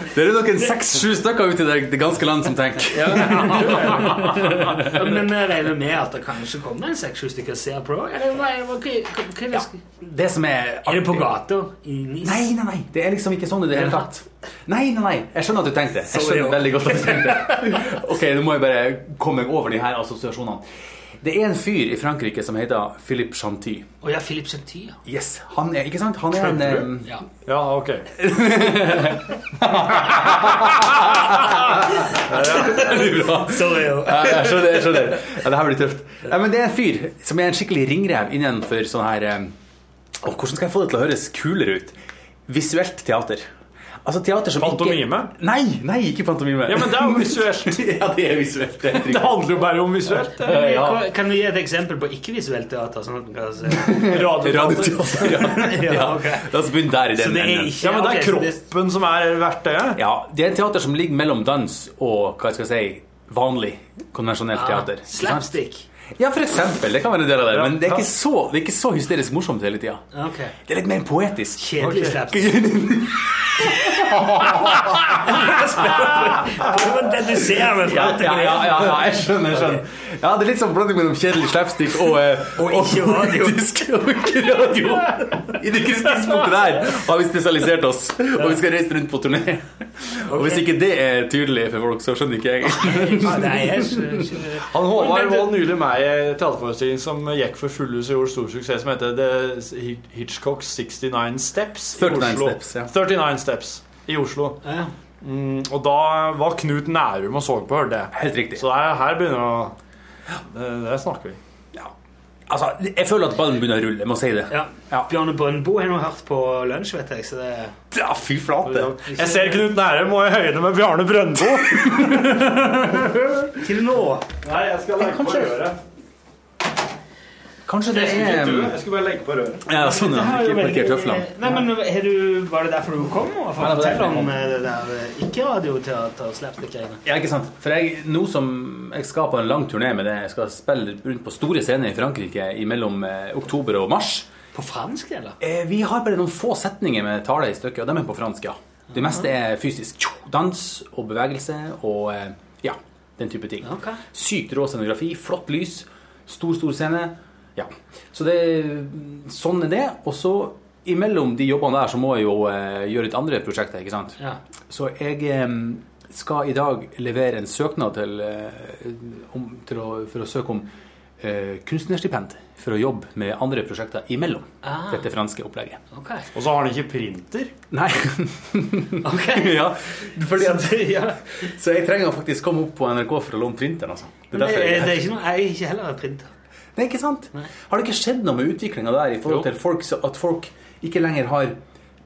Speaker 10: Det er jo noen seks-sju stykker ute i det- det ganske land som tenker.
Speaker 2: Ja, eh, Men jeg regner med at det kanskje kommer en seks-sju stykker og ser på? Eller hva er hva- hva- hva- hva er det?
Speaker 10: Det som er
Speaker 2: Er det på gata? I Nis?
Speaker 10: Nei, nei, nei. Det er liksom ikke sånn i det hele tatt. Nei, nei, nei. Jeg skjønner at du tenkte det. Jeg
Speaker 2: Sorry,
Speaker 10: skjønner veldig godt at du tenkte det. Ok, nå må jeg bare komme meg over de her assosiasjonene. Det er en fyr i Frankrike som heter Philippe Chanty.
Speaker 2: Å ja, Philip Chanty, ja.
Speaker 10: Yes, han er, ikke sant? Han er en... eh, em,
Speaker 2: ja.
Speaker 3: Ja, ok.
Speaker 2: Sorry. jo.
Speaker 10: Ja, jeg skjønner, jeg skjønner. Ja, det her blir tøft. Nei, men det er en fyr som er en skikkelig ringrev innenfor sånn her eh, Åh, Hvordan skal jeg få det til å høres kulere ut? Visuelt teater. Altså teater som
Speaker 3: Pantomime?
Speaker 10: ikke Nei, nei, ikke pantomime.
Speaker 3: Ja, men det er jo visuelt.
Speaker 10: ja, det er visuelt. Det er helt
Speaker 3: Det
Speaker 10: riktig.
Speaker 3: handler jo bare om visuelt. det.
Speaker 10: Ja.
Speaker 2: Kan du gi et eksempel på ikke-visuelt teater? Sånn at man kan se.
Speaker 3: Radioteater.
Speaker 10: Radioteater. Ja.
Speaker 2: Ja, ok.
Speaker 10: La oss begynne der i
Speaker 2: Så
Speaker 10: den
Speaker 2: det er
Speaker 10: enden.
Speaker 2: ikke
Speaker 3: Ja, men det
Speaker 2: ok,
Speaker 3: er
Speaker 2: så det-
Speaker 3: kroppen som er verktøyet.
Speaker 10: Ja, det er et teater som ligger mellom dans og hva skal jeg si vanlig, konvensjonelt teater. Ikke sant?
Speaker 2: Slapstick.
Speaker 10: Ja, for eksempel. Det kan være en del av det.
Speaker 3: Ja,
Speaker 10: Men det er
Speaker 3: ja.
Speaker 10: ikke så, det er ikke så hysterisk morsomt hele tida.
Speaker 2: Ok.
Speaker 10: Det er litt mer poetisk.
Speaker 2: Kjedelig slapstick.
Speaker 10: ja,
Speaker 2: Hvordan deduserer
Speaker 10: ja, ja,
Speaker 2: vi framtiden?
Speaker 10: ja, ja, jeg skjønner. jeg skjønner Ja, Det er litt sånn blanding mellom kjedelig slapstick og eh,
Speaker 2: Og ikke radio.
Speaker 10: politisk- og ikke radio. I det kristenspunktet der har vi spesialisert oss, og vi skal reise rundt på turné. Og hvis ikke det er tydelig for folk, så skjønner ikke jeg.
Speaker 2: Ja, Nei, jeg skjønner ikke
Speaker 3: Han Håvard
Speaker 2: Men det-
Speaker 3: var nylig med i en teaterforestilling som gikk for full hus og gjorde stor suksess, som heter The Hitchcock 69 Steps i
Speaker 10: 39
Speaker 3: Oslo.
Speaker 10: Steps, ja.
Speaker 3: 39 Steps i Oslo.
Speaker 2: Ja.
Speaker 3: Mm, og da var Knut Nærum og så på, hørte jeg.
Speaker 10: Helt riktig.
Speaker 3: Så her, her begynner å det, det snakker vi.
Speaker 10: Altså, Jeg føler at ballen begynner å rulle. Jeg må si det.
Speaker 2: Ja. Bjarne Brøndbo har nå hørt på lunsj, vet jeg. Så det
Speaker 10: Ja, fy flate.
Speaker 3: Jeg ser Knut Nærum og i høyde med Bjarne Brøndbo.
Speaker 2: Til nå.
Speaker 3: Nei, jeg skal legge på øret.
Speaker 7: Kanskje det
Speaker 2: Jeg skulle
Speaker 7: er
Speaker 2: ikke dø, jeg skulle bare legge på røret.
Speaker 7: Ja, sånn, ja.
Speaker 2: Det her er jo
Speaker 7: Ikke parkert
Speaker 2: veldig-
Speaker 7: høflene.
Speaker 2: Nei, men har du, Var det derfor du kom? Og for
Speaker 7: Ja,
Speaker 2: å
Speaker 7: det var derfor
Speaker 2: fortelle
Speaker 7: jeg
Speaker 2: om
Speaker 7: kom.
Speaker 2: eh, det der eh, ikke-radioteater og slapstick-greiene?
Speaker 7: Ja, ikke sant. For jeg, nå som jeg skal på en lang turné med det, jeg skal spille rundt på store scener i Frankrike mellom eh, oktober og mars.
Speaker 2: På fransk, eller?
Speaker 7: Eh, Vi har bare noen få setninger med tale i stykket, og de er på fransk, ja. Det meste er fysisk tjo, dans og bevegelse og eh, ja, den type ting. Sykt rå scenografi, flott lys, stor, stor scene. Ja. Så det, sånn er det. Og så imellom de jobbene der så må jeg jo eh, gjøre litt andre prosjekter, ikke sant.
Speaker 2: Ja.
Speaker 7: Så jeg em, skal i dag levere en søknad til, eh, om, til å, for å søke om eh, kunstnerstipend for å jobbe med andre prosjekter imellom
Speaker 3: Ah.
Speaker 7: dette franske opplegget.
Speaker 2: Ok.
Speaker 3: Og så har han ikke printer.
Speaker 7: Nei. ja, fordi at, Så jeg trenger å faktisk komme opp på NRK for å låne printeren, altså. Det er
Speaker 2: Men Det,
Speaker 7: derfor jeg
Speaker 2: er-
Speaker 7: er
Speaker 2: det er
Speaker 7: her.
Speaker 2: ikke noe, jeg er ikke heller en printer.
Speaker 7: Det er ikke sant. Har det ikke skjedd noe med utviklinga der i forhold til folk, så at folk ikke lenger har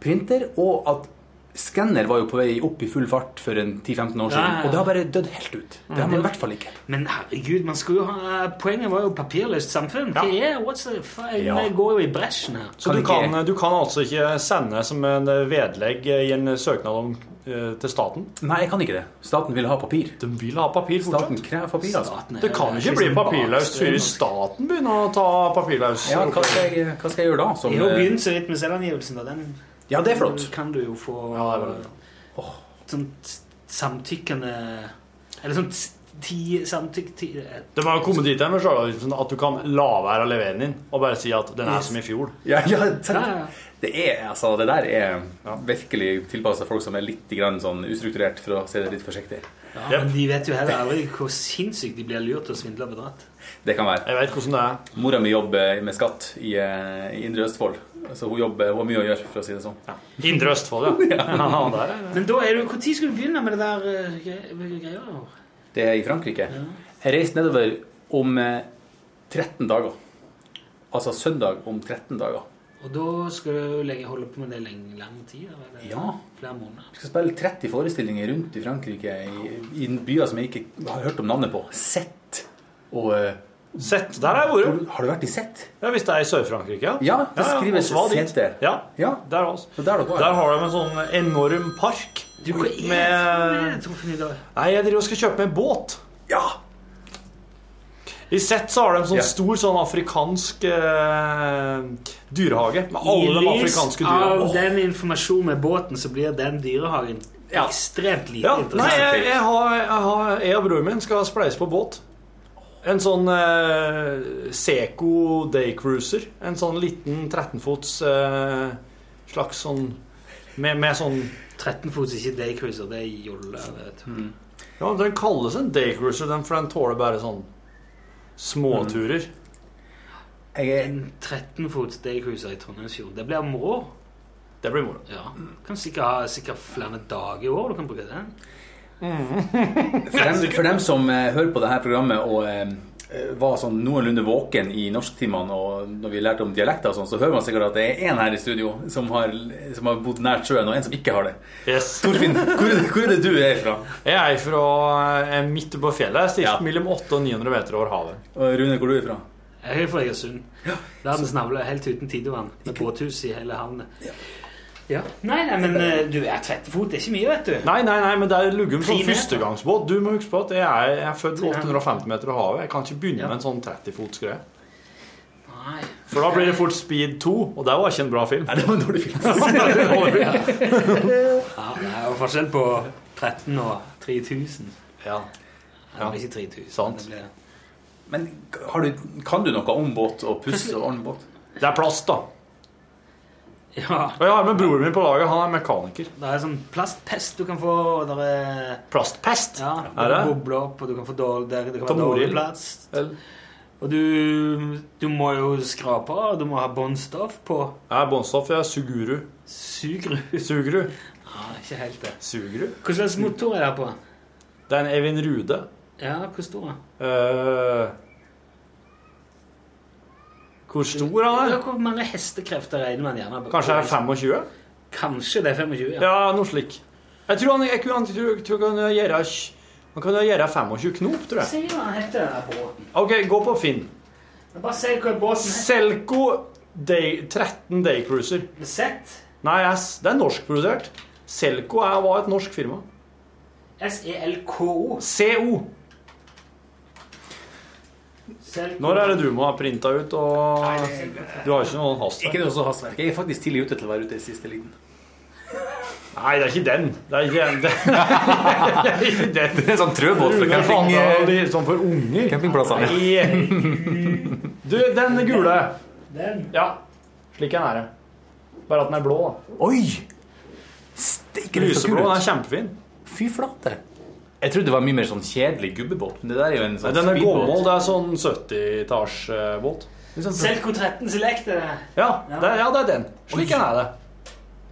Speaker 7: printer, og at skanner var jo på vei opp i full fart for en 10-15 år siden,
Speaker 2: Ja, ja, ja.
Speaker 7: og det har bare dødd helt ut. Det har man i hvert fall ikke.
Speaker 2: Men herregud, man skulle jo ha, eh, poenget var jo papirløst samfunn. Hva er what's the fuck?
Speaker 3: Ja.
Speaker 2: Jeg går jo i bresjen her.
Speaker 3: Så du kan, du kan altså ikke sende som en vedlegg i en søknad om, eh, til staten?
Speaker 7: Nei, jeg kan ikke det. Staten vil ha papir.
Speaker 3: De vil ha papir fortsatt.
Speaker 7: Staten krever papir, altså.
Speaker 3: Staten er- Det kan ikke bli papirløst før staten begynner å ta papirløs.
Speaker 7: Ja, hva skal jeg, hva skal jeg gjøre da? som,
Speaker 2: Jeg har jo
Speaker 7: eh,
Speaker 2: begynt så vidt med selvangivelsen, da. Den
Speaker 7: Ja, det er flott.
Speaker 2: kan du jo få Åh, sånt samtykkende Eller sånt ti samtykk... Ti, eh,
Speaker 3: De har jo kommet dit her med sjølavgiften liksom, sånn at du kan la være å levere den inn, og bare si at den er som i fjor.
Speaker 7: Ja, ja,
Speaker 2: ja, ja.
Speaker 7: Det er, altså, det der er virkelig tilpassa folk som er litt grann sånn ustrukturert, for å si det litt forsiktig.
Speaker 2: Ja, men de vet jo heller aldri hvor sinnssykt de blir lurt og svindla og bedratt.
Speaker 7: Det kan være.
Speaker 3: Jeg vet hvordan det er.
Speaker 7: Mora mi jobber med skatt i, eh, i Indre Østfold, så hun, jobber, hun har mye å gjøre, for å si det sånn.
Speaker 3: Indre Østfold, ja. Ja, der er det.
Speaker 2: Men da er du Når skal du begynne med det der eh, gre- greia?
Speaker 7: Det er i Frankrike. Jeg reiser nedover om eh, 13 dager. Altså søndag om 13 dager.
Speaker 2: Og da skal du legge, holde på med det lenge, lang tid? Eller?
Speaker 7: Ja.
Speaker 2: Flere måneder?
Speaker 7: Jeg skal spille 30 forestillinger rundt i Frankrike, i, i byer som jeg ikke har hørt om navnet på. Sett og eh,
Speaker 3: Sett, der har jeg vært.
Speaker 7: Har du vært i Sett?
Speaker 3: Ja, Hvis det er i Sør-Frankrike,
Speaker 7: Ja, det skrives
Speaker 3: Oslo var dit.
Speaker 7: Sette.
Speaker 3: Ja, der også. Der, har de en sånn enorm park med Nei, jeg driver og skal kjøpe meg båt.
Speaker 7: Ja!
Speaker 3: I Sett så har de en sånn
Speaker 7: Ja.
Speaker 3: stor sånn afrikansk eh, dyrehage med alle de afrikanske dyra.
Speaker 2: av den informasjonen med båten, så blir den dyrehagen ekstremt lite
Speaker 3: Ja, nei,
Speaker 2: interessant.
Speaker 3: jeg, jeg, har, jeg, har, jeg og broren min skal spleise på båt. En sånn eh, Seco Daycruiser. En sånn liten 13-fots eh, slags sånn med, med sånn
Speaker 2: 13 fots, ikke daycruiser, det er jolle. vet du.
Speaker 3: Ja, den kalles en daycruiser, den, for den tåler bare sånn småturer.
Speaker 2: En 13 fots daycruiser i Trondheimsfjorden, det blir moro.
Speaker 3: Det blir moro.
Speaker 2: Ja. Du kan sikkert ha sikkert flere dager i år du kan bruke den.
Speaker 7: For dem, for dem som eh, hører på dette programmet og eh, var sånn noenlunde våken i norsktimene og når vi lærte om dialekter og sånn, så hører man sikkert at det er én her i studio som har, som har bodd nært sjøen, og en som ikke har det. Torfinn, hvor, er det- hvor er det du er fra?
Speaker 3: Jeg er fra eh, midt på fjellet, stilt mellom 800 og 900 meter over havet.
Speaker 7: Og Rune, hvor er du fra?
Speaker 2: Jeg er fra Egersund. Verdens navle, helt uten tidevann. Med båthus i hele havnet. Ja. Nei, nei, men eh, du er 13 fot, det er ikke mye, vet du.
Speaker 3: Nei, nei, nei, men det er luggum
Speaker 2: Ti
Speaker 3: som
Speaker 2: meter.
Speaker 3: førstegangsbåt. Du må huske på at jeg er, jeg er født 850 meter over havet. Jeg kan ikke begynne med en sånn 30-fots greie. For da blir det fort Speed 2, og det var ikke en bra film. Nei,
Speaker 7: det var en dårlig film.
Speaker 2: Ja, det er jo forskjell på 13 og 3000.
Speaker 3: Ja.
Speaker 2: Det blir ikke 3000. Det blir...
Speaker 7: Men har du, kan du noe om båt og puss og ordne båt?
Speaker 3: Det er plast, da.
Speaker 2: Ja.
Speaker 3: Og jeg har med broren min på laget. Han er mekaniker.
Speaker 2: Det er sånn plastpest du kan få, og det er
Speaker 3: Plastpest?
Speaker 2: Ja,
Speaker 3: Er
Speaker 2: det
Speaker 3: det?
Speaker 2: bobler opp, og du kan få dårlig, det, det kan være
Speaker 3: Tamoril?
Speaker 2: dårlig plast. Og du, du må jo skrape, og du må ha båndstoff på.
Speaker 3: Jeg er båndstoff. Jeg er Suguru.
Speaker 2: Sugru.
Speaker 3: Suguru.
Speaker 2: Ja, ikke helt det.
Speaker 3: Suguru.
Speaker 2: Hva slags motor er det på?
Speaker 3: Det er en Evin Rude.
Speaker 2: Ja, hvor stor? er den?
Speaker 3: Eh, hvor stor han er?
Speaker 2: Ja, Hvor mange hestekrefter regner man gjerne?
Speaker 3: Kanskje jeg er 25?
Speaker 2: Kanskje det er 25, ja.
Speaker 3: Ja, noe slik. Jeg tror han, jeg, kunne- han, tror, tror han kan gjøre Han kan gjøre 25 knop, tror jeg.
Speaker 2: Se hva han heter den der båten.
Speaker 3: Ok, gå på Finn.
Speaker 2: Bare si hva båten er.
Speaker 3: Selco day, 13 Daycruiser.
Speaker 2: Sett.
Speaker 3: Nei, ass, det er norskprodusert. Selco er, var et norsk firma.
Speaker 2: S-E-L-K-O.
Speaker 3: CO. Når er det du må ha printa ut og Du har ikke noe hastverk?
Speaker 11: Ikke noe så hastverk. Jeg er faktisk tidlig ute til å være ute i siste liten.
Speaker 3: Nei, det er ikke den. Det er ikke den. Det er, ikke den.
Speaker 11: Det er en sånn trøbåt for
Speaker 3: Rune
Speaker 11: camping-
Speaker 3: Fandal, de- Sånn for unger.
Speaker 11: Campingplassene.
Speaker 3: Nei. Du, den gule.
Speaker 2: Den.
Speaker 3: Ja. Slik den er det. Bare at den er blå, da. Oi!
Speaker 11: det så kul
Speaker 3: Lyseblå.
Speaker 11: ut.
Speaker 3: Den er kjempefin.
Speaker 11: Fy flate. Jeg trodde det var mye mer sånn kjedelig gubbebåt, men det der er jo en
Speaker 3: Nei,
Speaker 11: sånn
Speaker 3: den er
Speaker 11: speedbåt.
Speaker 3: gammel. Det er sånn 70-etasjebåt.
Speaker 11: sånn-
Speaker 2: Selco 13 Select er det.
Speaker 3: Ja, det er, ja, det er den. Slik den er det.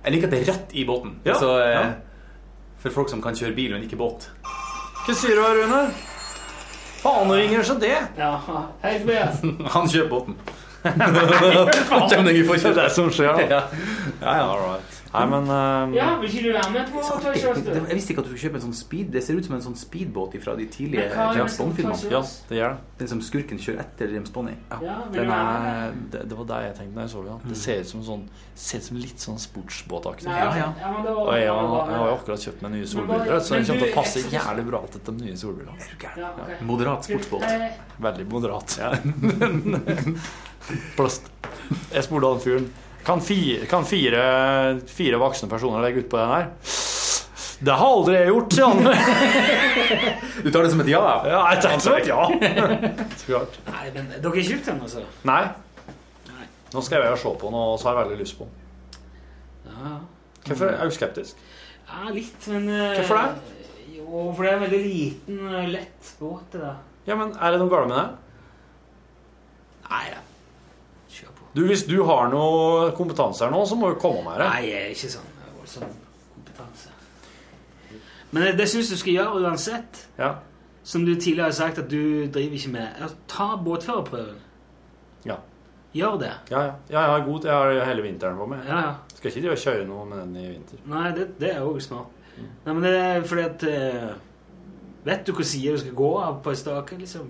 Speaker 11: Jeg liker at det er rett i båten.
Speaker 3: Ja,
Speaker 11: Altså, eh,
Speaker 3: ja.
Speaker 11: For folk som kan kjøre bil, men ikke båt.
Speaker 3: Hva sier du, Rune? Faneringer så det.
Speaker 2: Ja, helt med.
Speaker 11: Han kjøper båten. Kjem deg i forkjøpet.
Speaker 3: Det er det som skjer, da.
Speaker 11: Ja, ja, ja all right.
Speaker 3: Nei, men eh,
Speaker 2: Ja, vil ikke du være med på Toy
Speaker 11: det,
Speaker 2: Shorts, du?
Speaker 11: det, jeg visste ikke at du skulle kjøpe en sånn speed Det ser ut som en sånn speedbåt fra de tidlige
Speaker 2: Men hva er det
Speaker 11: James
Speaker 2: som
Speaker 11: Bond-filmene.
Speaker 2: tar seg oss?
Speaker 11: det gjør det. Den som skurken kjører etter James Bond i.
Speaker 2: Ja, vil
Speaker 3: Den
Speaker 2: du være med?
Speaker 3: er, det, det var det jeg tenkte da jeg så den.
Speaker 11: Mm.
Speaker 3: Det ser ut som, sånn, ser ut som litt sånn sportsbåtaktig.
Speaker 2: Nei, ja, ja. Ja, men det var-
Speaker 3: Og jeg,
Speaker 2: det var-
Speaker 3: jeg har jo akkurat kjøpt meg nye
Speaker 2: Men bare-
Speaker 3: solbriller,
Speaker 2: men
Speaker 3: så den kommer til
Speaker 2: du-
Speaker 3: å passe
Speaker 2: jeg-
Speaker 3: jævlig bra til de nye solbrillene.
Speaker 2: Ja, ok.
Speaker 11: Moderat sportsbåt.
Speaker 2: Eh,
Speaker 3: Veldig moderat. Plast. Jeg spurte han fyren Kan, fi, kan fire, fire voksne personer legge utpå den her? Det har aldri jeg gjort, sier han.
Speaker 11: Du tar det som et ja?
Speaker 3: Ja, jeg tenkte det. Ja. Så klart.
Speaker 2: Nei, men dere har ikke kjøpt den, altså?
Speaker 3: Nei. Nå skal jeg og se på den, og så har jeg veldig lyst på den.
Speaker 2: Ja,
Speaker 3: Hvorfor er du skeptisk?
Speaker 2: ja litt, men eh,
Speaker 3: Hvorfor det?
Speaker 2: Jo, for det er en veldig liten, eh, lett båt, det der.
Speaker 3: Ja, men Er det noe galt med det?
Speaker 2: Nei da. Kjør på.
Speaker 3: Du, Hvis du har noe kompetanse her nå, så må du komme med det.
Speaker 2: Nei, jeg er ikke sånn jeg har voldsom kompetanse. Men det, det syns du skal gjøre uansett.
Speaker 3: Ja.
Speaker 2: Som du tidligere har sagt at du driver ikke med. Ja, Ta båtførerprøven.
Speaker 3: Ja.
Speaker 2: Gjør det.
Speaker 3: Ja, ja. ja, jeg har god Jeg har hele vinteren på meg.
Speaker 2: Ja, ja.
Speaker 3: Skal ikke drive og kjøre noe med den i vinter.
Speaker 2: Nei, det, det er jo smart. Nei, men det er fordi at eh, Vet du hvilken side du skal gå av på en stake, liksom?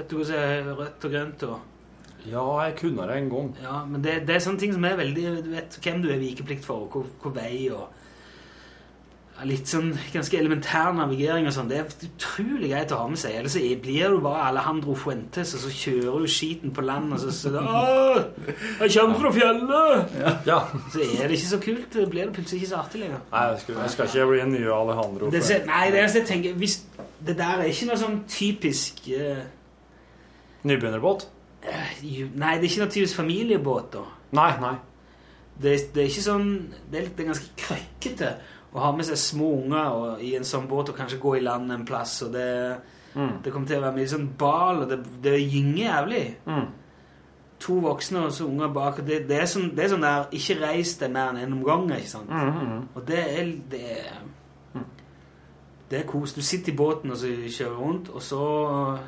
Speaker 2: Vet du hva som er rødt og grønt og
Speaker 3: Ja, jeg kunne det en gang.
Speaker 2: Ja, men det, det er sånne ting som er veldig Du vet hvem du er vikeplikt for, og hvor, hvor vei og ja, Litt sånn ganske elementær navigering og sånn. Det er utrolig greit å ha med seg. Ellers så blir du bare Alejandro Fuentes, og så kjører du skiten på land, og så så det, Åh, Jeg kommer fra fjellet!
Speaker 3: Ja.
Speaker 2: Så er det ikke så kult. Det blir det plutselig ikke så artig lenger.
Speaker 3: Nei, jeg skal, jeg skal ikke bli en ny Alejandro.
Speaker 2: Det, ser- nei, det eneste jeg tenker hvis, Det der er ikke noe sånn typisk eh,
Speaker 3: Nybegynnerbåt?
Speaker 2: ju- Nei, det er ikke noe typisk familiebåt, da.
Speaker 3: Nei, nei.
Speaker 2: Det, det er ikke sånn Det er, litt, det er ganske krøkkete å ha med seg små unger og, i en sånn båt og kanskje gå i land en plass, og det
Speaker 3: Mm.
Speaker 2: Det kommer til å være mye sånn bal, og det, det gynger jævlig. To voksne og så unger bak, og det, det, er sånn, det er sånn der Ikke reis deg mer enn en omgang, ikke sant? Og det er Det er, det er kos. Du sitter i båten og så kjører rundt, og så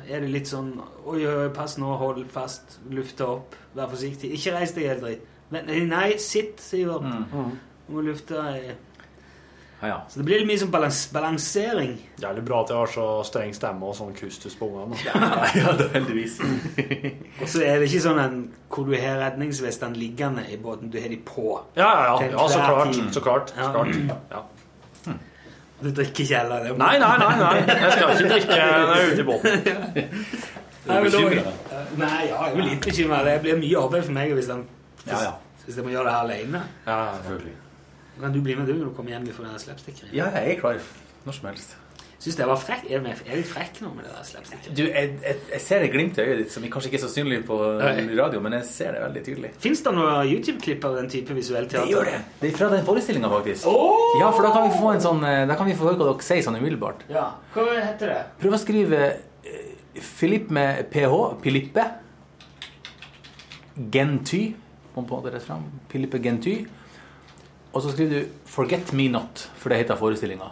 Speaker 2: er det litt sånn Oi, oi, pass nå, hold fast, lufta opp, vær forsiktig. Ikke reis deg helt dritt. Men, nei, nei, sitt, Sivert. Du må lufte deg.
Speaker 11: Ja, ja.
Speaker 2: Så det blir litt mye sånn balans balansering.
Speaker 3: Jævlig bra at jeg har så streng stemme og sånn kustus på ungene.
Speaker 11: ja da, heldigvis.
Speaker 2: Og så er det ikke sånn en, hvor du har redningsvestene liggende i båten, du har de på.
Speaker 3: Ja, ja, ja.
Speaker 2: Til
Speaker 3: ja så
Speaker 2: enhver
Speaker 3: klart.
Speaker 2: tid.
Speaker 3: Så klart. Så
Speaker 2: Ja. Mm.
Speaker 3: klart. Ja.
Speaker 2: Du drikker ikke heller. det er-
Speaker 3: Nei, nei, nei, nei. Jeg skal ikke drikke når jeg er ute i båten.
Speaker 2: Nei, men da-
Speaker 11: bekymret.
Speaker 2: Nei, ja, jeg er jo litt bekymra. Det blir mye arbeid for meg hvis jeg,
Speaker 11: Ja, ja.
Speaker 2: hvis jeg må gjøre det her alene.
Speaker 3: Ja,
Speaker 11: Selvfølgelig.
Speaker 2: Kan du bli med du når du kommer hjem fra den slapstickeren?
Speaker 11: Ja, jeg er klar når som helst.
Speaker 2: Syns jeg var frekk. Er jeg er litt frekk nå med det der slapstickeren?
Speaker 11: Du, jeg, jeg, jeg ser et glimt i øyet ditt som kanskje ikke er så synlig på
Speaker 2: Nei.
Speaker 11: radio, men jeg ser det veldig tydelig.
Speaker 2: Fins det noen YouTube-klipp av den type visuell teater?
Speaker 11: gjør det. Det er fra den forestillinga, faktisk. Ja, for da kan vi få en sånn eh, Da kan vi få høre hva dere sier sånn umiddelbart.
Speaker 2: Ja. Hva heter det?
Speaker 11: Prøv å skrive eh, Philip med ph. Pilippe. Genty. Kom på det rett fram. Pilippe Genty. Og så skriver du 'Forget me not', for det heter forestillinga.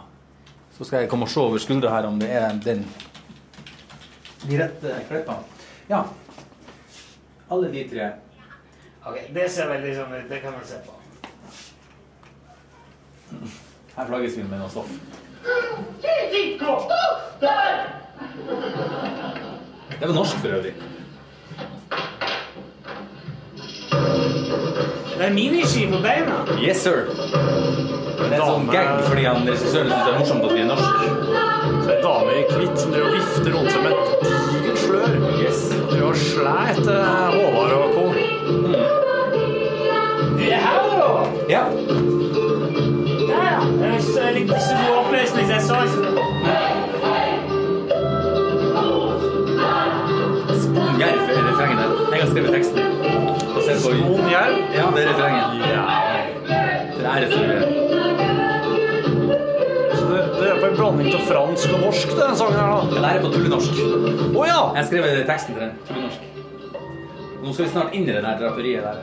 Speaker 11: Så skal jeg komme og se over skuldra her om det er den De rette klippene. Ja. Alle de tre.
Speaker 2: Ok, Det ser veldig sånn ut. Det kan vi se på.
Speaker 11: Her flagges vi med noe stoff. Det var norsk for øvrig.
Speaker 12: Det er miniski på beina.
Speaker 10: Yes, sir. Det er en sånn gag fordi han regissøren syns det er morsomt at vi er norske.
Speaker 3: Det er dame i hvitt som driver og vifter rundt seg med et digert slør.
Speaker 10: Yes.
Speaker 3: Driver og slær etter eh, Håvard og co.
Speaker 12: Det her, da!
Speaker 10: Ja.
Speaker 12: Der! Jeg s- jeg likte ikke så god oppløsning, så jeg så ikke.
Speaker 10: Spon jerv er refrenget der. Jeg har skrevet teksten. Spon jerv? Ja, det er refrenget. Det er refrenget.
Speaker 3: Så det, det er på en blanding til fransk og norsk, den sangen her, da.
Speaker 10: Det der er på tullenorsk.
Speaker 3: Å ja!
Speaker 10: Jeg skrev teksten til den. Tullenorsk. Nå skal vi snart inn i det der draperiet der.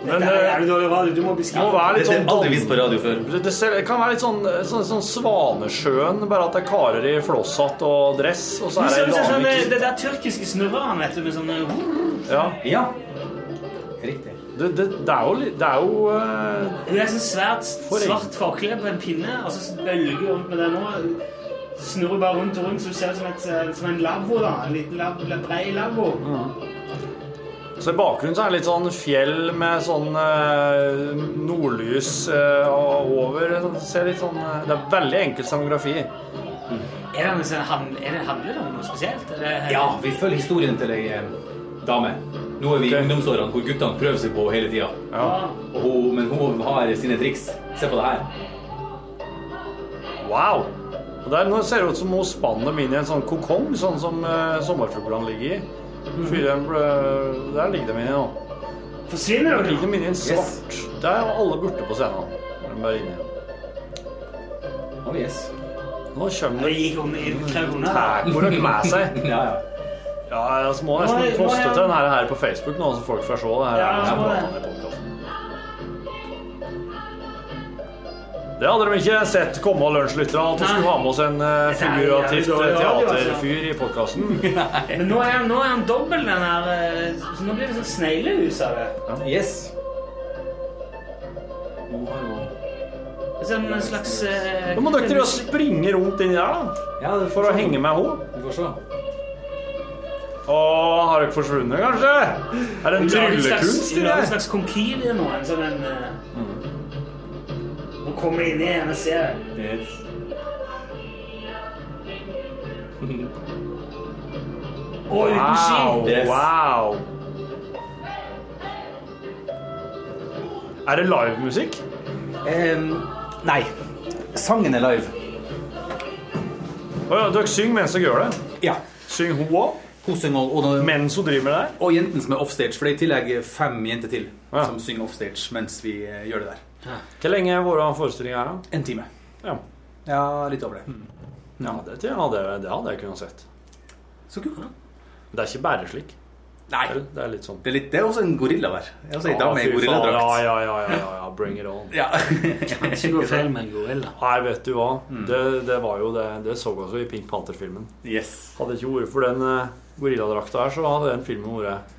Speaker 3: Men, eh,
Speaker 12: Dette er jævlig dårlig radio. Du må beskrive
Speaker 3: må være litt
Speaker 10: Dette
Speaker 3: sånn
Speaker 10: er aldri vist på radio før.
Speaker 3: Det, det, ser, det kan være litt sånn, sånn, sånn Svanesjøen, bare at det er karer i flosshatt og dress, og så
Speaker 12: Du
Speaker 3: er det
Speaker 12: ser
Speaker 3: en
Speaker 12: ut som
Speaker 3: dame
Speaker 12: sånne,
Speaker 3: i hvitt.
Speaker 12: det der tyrkiske snurreren, vet du, med sånn, eh, sånne
Speaker 3: Ja.
Speaker 10: ja. Riktig.
Speaker 3: Det, det, det er jo litt Det er jo eh,
Speaker 12: Hun er sånn svært svart forkle på en pinne, og så bølger hun rundt med det nå. Så snurrer hun bare rundt og rundt, så hun ser ut som, et, eh, som en lavvo, da. En liten lav, brei lavvo.
Speaker 3: Så i bakgrunnen så er det litt sånn fjell med sånn eh, nordlys eh, over. Det Ser litt sånn, eh, det er veldig enkel scenografi.
Speaker 12: Er det, en sånn han- er det handler det om noe spesielt? Er det,
Speaker 10: Ja, vi følger historien til ei eh, dame. Nå er vi i ungdomsårene hvor guttene prøver seg på hele tida. Og hun- Men hun har sine triks. Se på det her.
Speaker 3: Wow! Og der, nå ser det ut som hun spann dem inn i en sånn kokong, sånn som eh, sommerfuglene ligger i.
Speaker 12: Mhm.
Speaker 3: Fyrer en blø- Der ligger de inni nå.
Speaker 12: Forsvinner
Speaker 3: Der
Speaker 12: det?
Speaker 3: ligger de inni en svart Der er alle borte på scenen. Der er de bare inne.
Speaker 10: Oh, yes.
Speaker 3: Nå kommer
Speaker 12: Det gikk hun i krevene.
Speaker 3: Tækor og med seg.
Speaker 10: Ja, ja.
Speaker 3: Ja, altså, må
Speaker 12: Nå
Speaker 3: nesten
Speaker 12: er- nå er
Speaker 3: poste
Speaker 12: jeg-
Speaker 3: til denne her på Facebook nå, så folk får se det her.
Speaker 12: Ja,
Speaker 3: er
Speaker 12: jeg må
Speaker 3: pratet om i podcasten. Det hadde de ikke sett komme av lunsjlyttere, at vi
Speaker 12: Nei.
Speaker 3: skulle ha med oss en eh,
Speaker 12: Dette er
Speaker 3: figurativt
Speaker 12: jævlig dårlig radio, altså.
Speaker 3: teaterfyr i podkasten.
Speaker 12: Men nå er, nå er han dobbel, den her eh, Så nå blir det sånn sneglehus av det.
Speaker 10: Yes. Hun har jo
Speaker 12: Det er Som en slags eh,
Speaker 3: Nå må dere drive og springe rundt inni der, da.
Speaker 10: Ja, det
Speaker 3: For å henge med henne.
Speaker 10: Vi får se.
Speaker 3: Å, har dere forsvunnet, kanskje? Er det en
Speaker 12: Vi lager en slags-
Speaker 3: tryllekunst
Speaker 12: vi
Speaker 3: i
Speaker 12: lager en
Speaker 3: det?
Speaker 12: slags konkylie nå. En sånn en eh, Nå kommer jeg inn i en og ser.
Speaker 10: Yes.
Speaker 12: Og uten ski.
Speaker 3: Wow,
Speaker 10: Yes.
Speaker 3: wow. Er det livemusikk?
Speaker 10: Em, nei. Sangen er live.
Speaker 3: Å ja, dere synger mens dere gjør det.
Speaker 10: Ja.
Speaker 3: Syng hun òg,
Speaker 10: Hun synger og, og,
Speaker 3: mens hun driver med det her.
Speaker 10: og jenten som er offstage, for det er i tillegg fem jenter til
Speaker 3: Ja.
Speaker 10: som synger offstage mens vi eh, gjør det der.
Speaker 3: Hvor lenge har vår forestilling her, da?
Speaker 10: En time.
Speaker 3: Ja, Hmm.
Speaker 10: Ja, litt over det.
Speaker 3: ja det, det, hadde, det hadde jeg kunnet sett.
Speaker 10: Så kult.
Speaker 3: Men det er ikke bare slik.
Speaker 10: Nei.
Speaker 3: vel? Det er litt sånn
Speaker 10: Det er, litt, det er også en gorilla der. Det er også en dame i
Speaker 3: fy faen, ja,
Speaker 10: gorilladrakt.
Speaker 3: ja, ja, ja, ja, ja, bring it on.
Speaker 10: Ja.
Speaker 12: Ikke gå feil med en gorilla.
Speaker 3: Nei, vet du hva.
Speaker 10: Mm.
Speaker 3: Det, det var jo det, det så vi også i Pink Panther-filmen.
Speaker 10: yes.
Speaker 3: Hadde ikke vært for den eh, gorilladrakta her, så hadde den filmen vært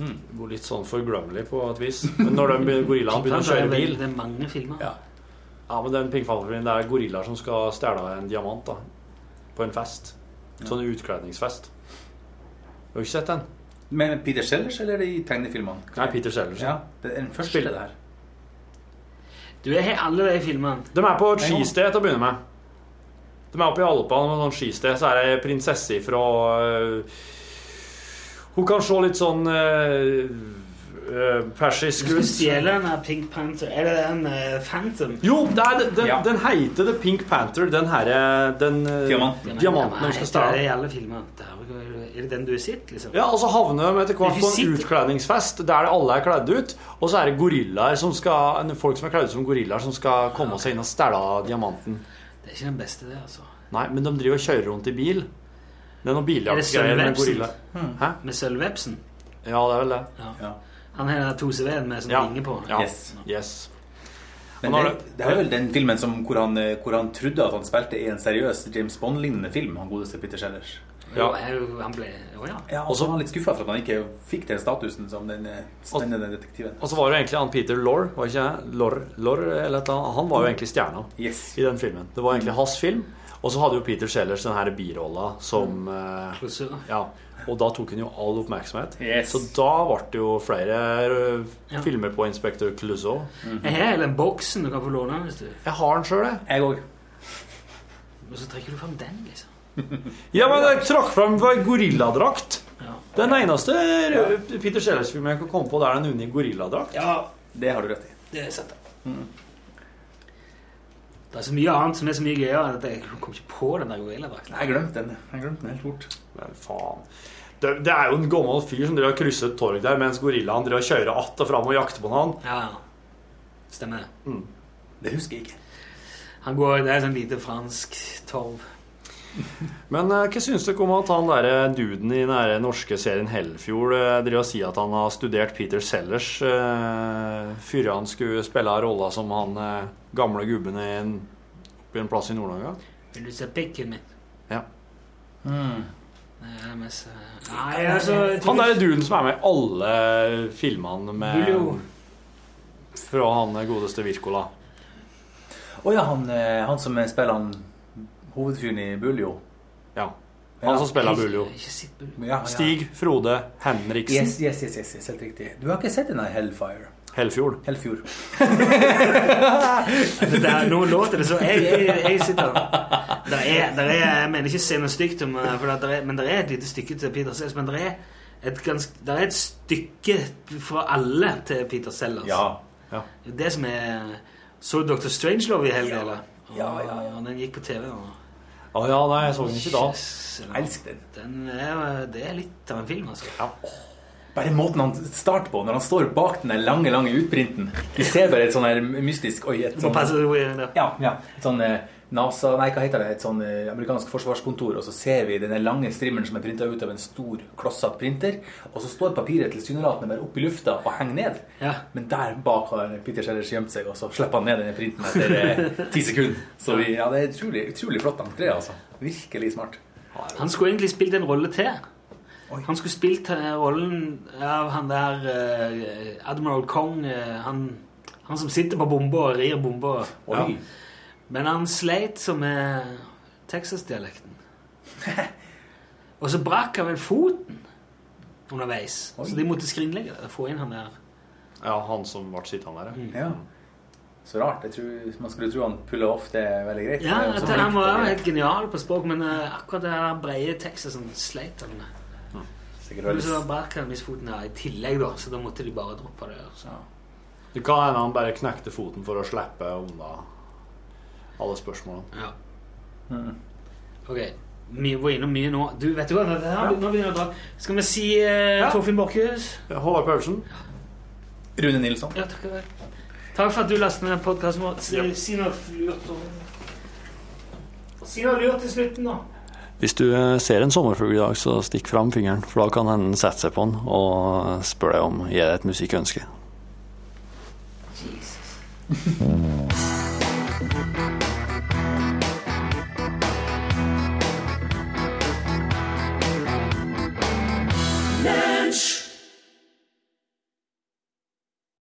Speaker 10: Hmm.
Speaker 3: vært litt sånn forglemmelig på et vis. Men når de be- gorillaene begynner å
Speaker 12: Det er
Speaker 3: kjøre
Speaker 12: veldig-
Speaker 3: bil
Speaker 12: det er mange filmer.
Speaker 10: Ja.
Speaker 3: Ja, men den Pink Panther-filmen, det er gorillaer som skal stjele en diamant da på en fest. Sånn utkledningsfest. Du har ikke sett den?
Speaker 10: Men Peter Sellers, eller er det i tegnefilmene?
Speaker 3: Nei, Peter Sellers.
Speaker 10: Ja, det er den første
Speaker 3: Spiller.
Speaker 10: det her.
Speaker 12: Du jeg har alle de filmene.
Speaker 3: De er på et skisted til å begynne med. De er oppe i Alpene med sånn skisted. Så er det ei prinsesse ifra øh, Hun kan se litt sånn øh, øh, persisk
Speaker 12: Du
Speaker 3: ut.
Speaker 12: stjeler den her Pink Panther. Er det den eh, Phantom?
Speaker 3: Jo, det er, den,
Speaker 10: Ja.
Speaker 3: den heter The Pink Panther, den herre Den øh,
Speaker 10: Diamanten.
Speaker 3: diamanten de
Speaker 12: Nei,
Speaker 3: skal
Speaker 12: Det er
Speaker 3: stjele.
Speaker 12: i alle filmer. Det er jo- er det den du har sett, liksom?
Speaker 3: Ja, og så havner de etter hvert
Speaker 12: Du
Speaker 3: på en
Speaker 12: sitter-
Speaker 3: utkledningsfest der alle er kledd ut. Og så er det gorillaer som skal, folk som er kledd ut som gorillaer, som skal komme seg inn og stjele diamanten.
Speaker 12: Det er ikke den beste, det, altså.
Speaker 3: Nei, men de driver og kjører rundt i bil. Det er noen biljaktgreier med
Speaker 12: Sølvvepsen?
Speaker 3: gorilla. Hæ?
Speaker 12: Med Sølvvepsen.
Speaker 3: Ja, det er vel det.
Speaker 10: Hmm. Ja.
Speaker 12: Han har den der 2CV-en med sånn
Speaker 3: Ja.
Speaker 12: vinge på.
Speaker 3: Ja.
Speaker 10: Yes.
Speaker 3: Yes.
Speaker 10: Men
Speaker 3: Han
Speaker 10: det,
Speaker 3: har
Speaker 10: det er vel den filmen som, hvor, han, eh, hvor han trodde at han spilte i en seriøs James Bond-lignende film, han godeste Peter Sellers.
Speaker 3: Ja.
Speaker 12: Jo, jeg- jo, han ble Å ja.
Speaker 10: Ja, og så var han litt skuffa for at han ikke fikk den statusen som den eh, spennende detektiven.
Speaker 3: Og så var det jo egentlig han Peter Lorre, var ikke det? Lorre, Lorre eller et eller annet. Han var jo egentlig stjerna
Speaker 10: Yes. Mm.
Speaker 3: i den filmen. Det var egentlig hans film.
Speaker 8: Og så hadde jo Peter Sellers den her birolla som
Speaker 10: Mm.
Speaker 8: eh, ja, Og da tok hun jo all oppmerksomhet.
Speaker 2: Yes.
Speaker 8: Så da ble det jo flere eh, filmer på Inspector Clouseau.
Speaker 2: Jeg har hele den boksen du kan få låne hvis du
Speaker 8: Jeg har den sjøl, jeg.
Speaker 3: Jeg òg.
Speaker 2: Og så trekker du fram den, liksom.
Speaker 8: Ja, men jeg trakk fram en gorilladrakt. Den eneste røde Peter Sellers-filmen jeg kan komme på, det er den unik gorilladrakt.
Speaker 2: Ja,
Speaker 3: det har du rett i.
Speaker 2: Det er sant. Mm. Det er så mye annet som er så mye gøyere enn at jeg kom ikke på den der gorilladrakten.
Speaker 3: Jeg glemte den. Jeg glemte den helt fort.
Speaker 8: Men faen. Det, det er jo en gammel fyr som driver og krysser et torg der mens gorillaen driver og kjører att og fram og jakter på han.
Speaker 2: Ja, stemmer det.
Speaker 3: Mm. Det husker jeg ikke.
Speaker 2: Han går, Det er sånn lite fransk torv.
Speaker 8: Men eh, hva syns dere om at han der eh, duden i den her norske serien Hellfjord eh, driver og sier at han har studert Peter Sellers eh, før han skulle spille rolla som han eh, gamle gubben i en, på en plass i Nord-Norge?
Speaker 2: Vil du se pikken min?
Speaker 8: Ja.
Speaker 2: Det er mest, eh, Hmm. Nei, altså jeg tror
Speaker 8: Han der
Speaker 2: ikke-
Speaker 8: duden som er med i alle filmene med
Speaker 2: Julio.
Speaker 8: Fra han godeste Wirkola.
Speaker 3: Å ja, han, eh, han som spiller han hovedfyren i Buljo.
Speaker 8: Ja. Han som spiller Buljo.
Speaker 3: Ja, ja.
Speaker 8: Stig Frode Henriksen.
Speaker 3: Yes, yes, yes, yes, yes, helt riktig. Du har ikke sett den her Hellfire?
Speaker 8: Hellfjord.
Speaker 3: Hellfjord.
Speaker 2: Det der, nå låter det så Jeg, jeg, jeg sitter der er, der er, Jeg mener ikke å si noe stygt om eh, for det, der er, Men det er et lite stykke til Peter Sellers Men det er et, ganske, der er et stykke fra alle til Peter Sellers Det er Det som er Så du Dr. Strangelove i helga, eller? Ja, ja, ja Den gikk på TV nå
Speaker 8: Å ja, nei, jeg så den ikke da.
Speaker 3: Jeg elsker den.
Speaker 2: den er, Det er litt av en film, altså
Speaker 3: Bare måten han starter på, når han står bak den der lange, lange utprinten. Du ser bare et sånn her mystisk Oi, et
Speaker 2: Du må
Speaker 3: sånn
Speaker 2: passe deg hvor-
Speaker 3: Ja, ja. Et sånn eh, NASA Nei, hva heter det? Et sånn eh, amerikansk forsvarskontor, og så ser vi den der lange strimmelen som er printa ut av en stor, klossete printer, og så står papiret tilsynelatende bare opp i lufta og henger ned.
Speaker 2: Ja.
Speaker 3: Men der bak har Peter Sellers gjemt seg, og så slipper han ned denne printen etter eh, ti sekunder. Så vi, ja, det er utrolig, utrolig flott han greier, altså. Virkelig smart.
Speaker 2: Han skulle egentlig spilt en rolle til. Han skulle spilt eh, rollen av han der eh, Admiral Kong eh, han, han som sitter på bomba og rir bomba.
Speaker 3: Oi.
Speaker 2: Men han sleit som med Texas-dialekten. og så brakk han vel foten underveis. Så de måtte skrinlegge det. Få inn han der.
Speaker 8: Ja, han som ble sittende der.
Speaker 3: Ja. Så rart. Jeg tror, man skulle tro han puller off det veldig greit.
Speaker 2: Ja,
Speaker 3: Han er jo
Speaker 2: at
Speaker 3: så flink
Speaker 2: Han var
Speaker 3: på
Speaker 2: jo
Speaker 3: det.
Speaker 2: helt Eh, genial på språk, men eh, akkurat det der breie Texasen sleit han med.
Speaker 3: Sikkert
Speaker 2: Men så
Speaker 3: veldig-
Speaker 2: brakk han visst foten her i tillegg, da, så da måtte de bare droppe det. Så.
Speaker 8: Det kan hende han bare knekte foten for å slippe unna alle spørsmålene.
Speaker 2: Ja. Ok, vi var innom mye nå. Du, vet du hva? Det her, Nå begynner jeg å dra. Skal vi si eh, Torfinn Borkhus?
Speaker 8: Håvard Paulsen.
Speaker 3: Rune Nilsson.
Speaker 2: Ja, takk, takk. takk for at du lastet ned podkasten vår. Si, si noe lurt om Si noe lurt til slutten, da.
Speaker 8: Hvis du eh, ser en sommerfugl i dag, så stikk fram fingeren, for da kan den sette seg på den og spør deg om gir deg et musikkønske.
Speaker 13: Lunsj!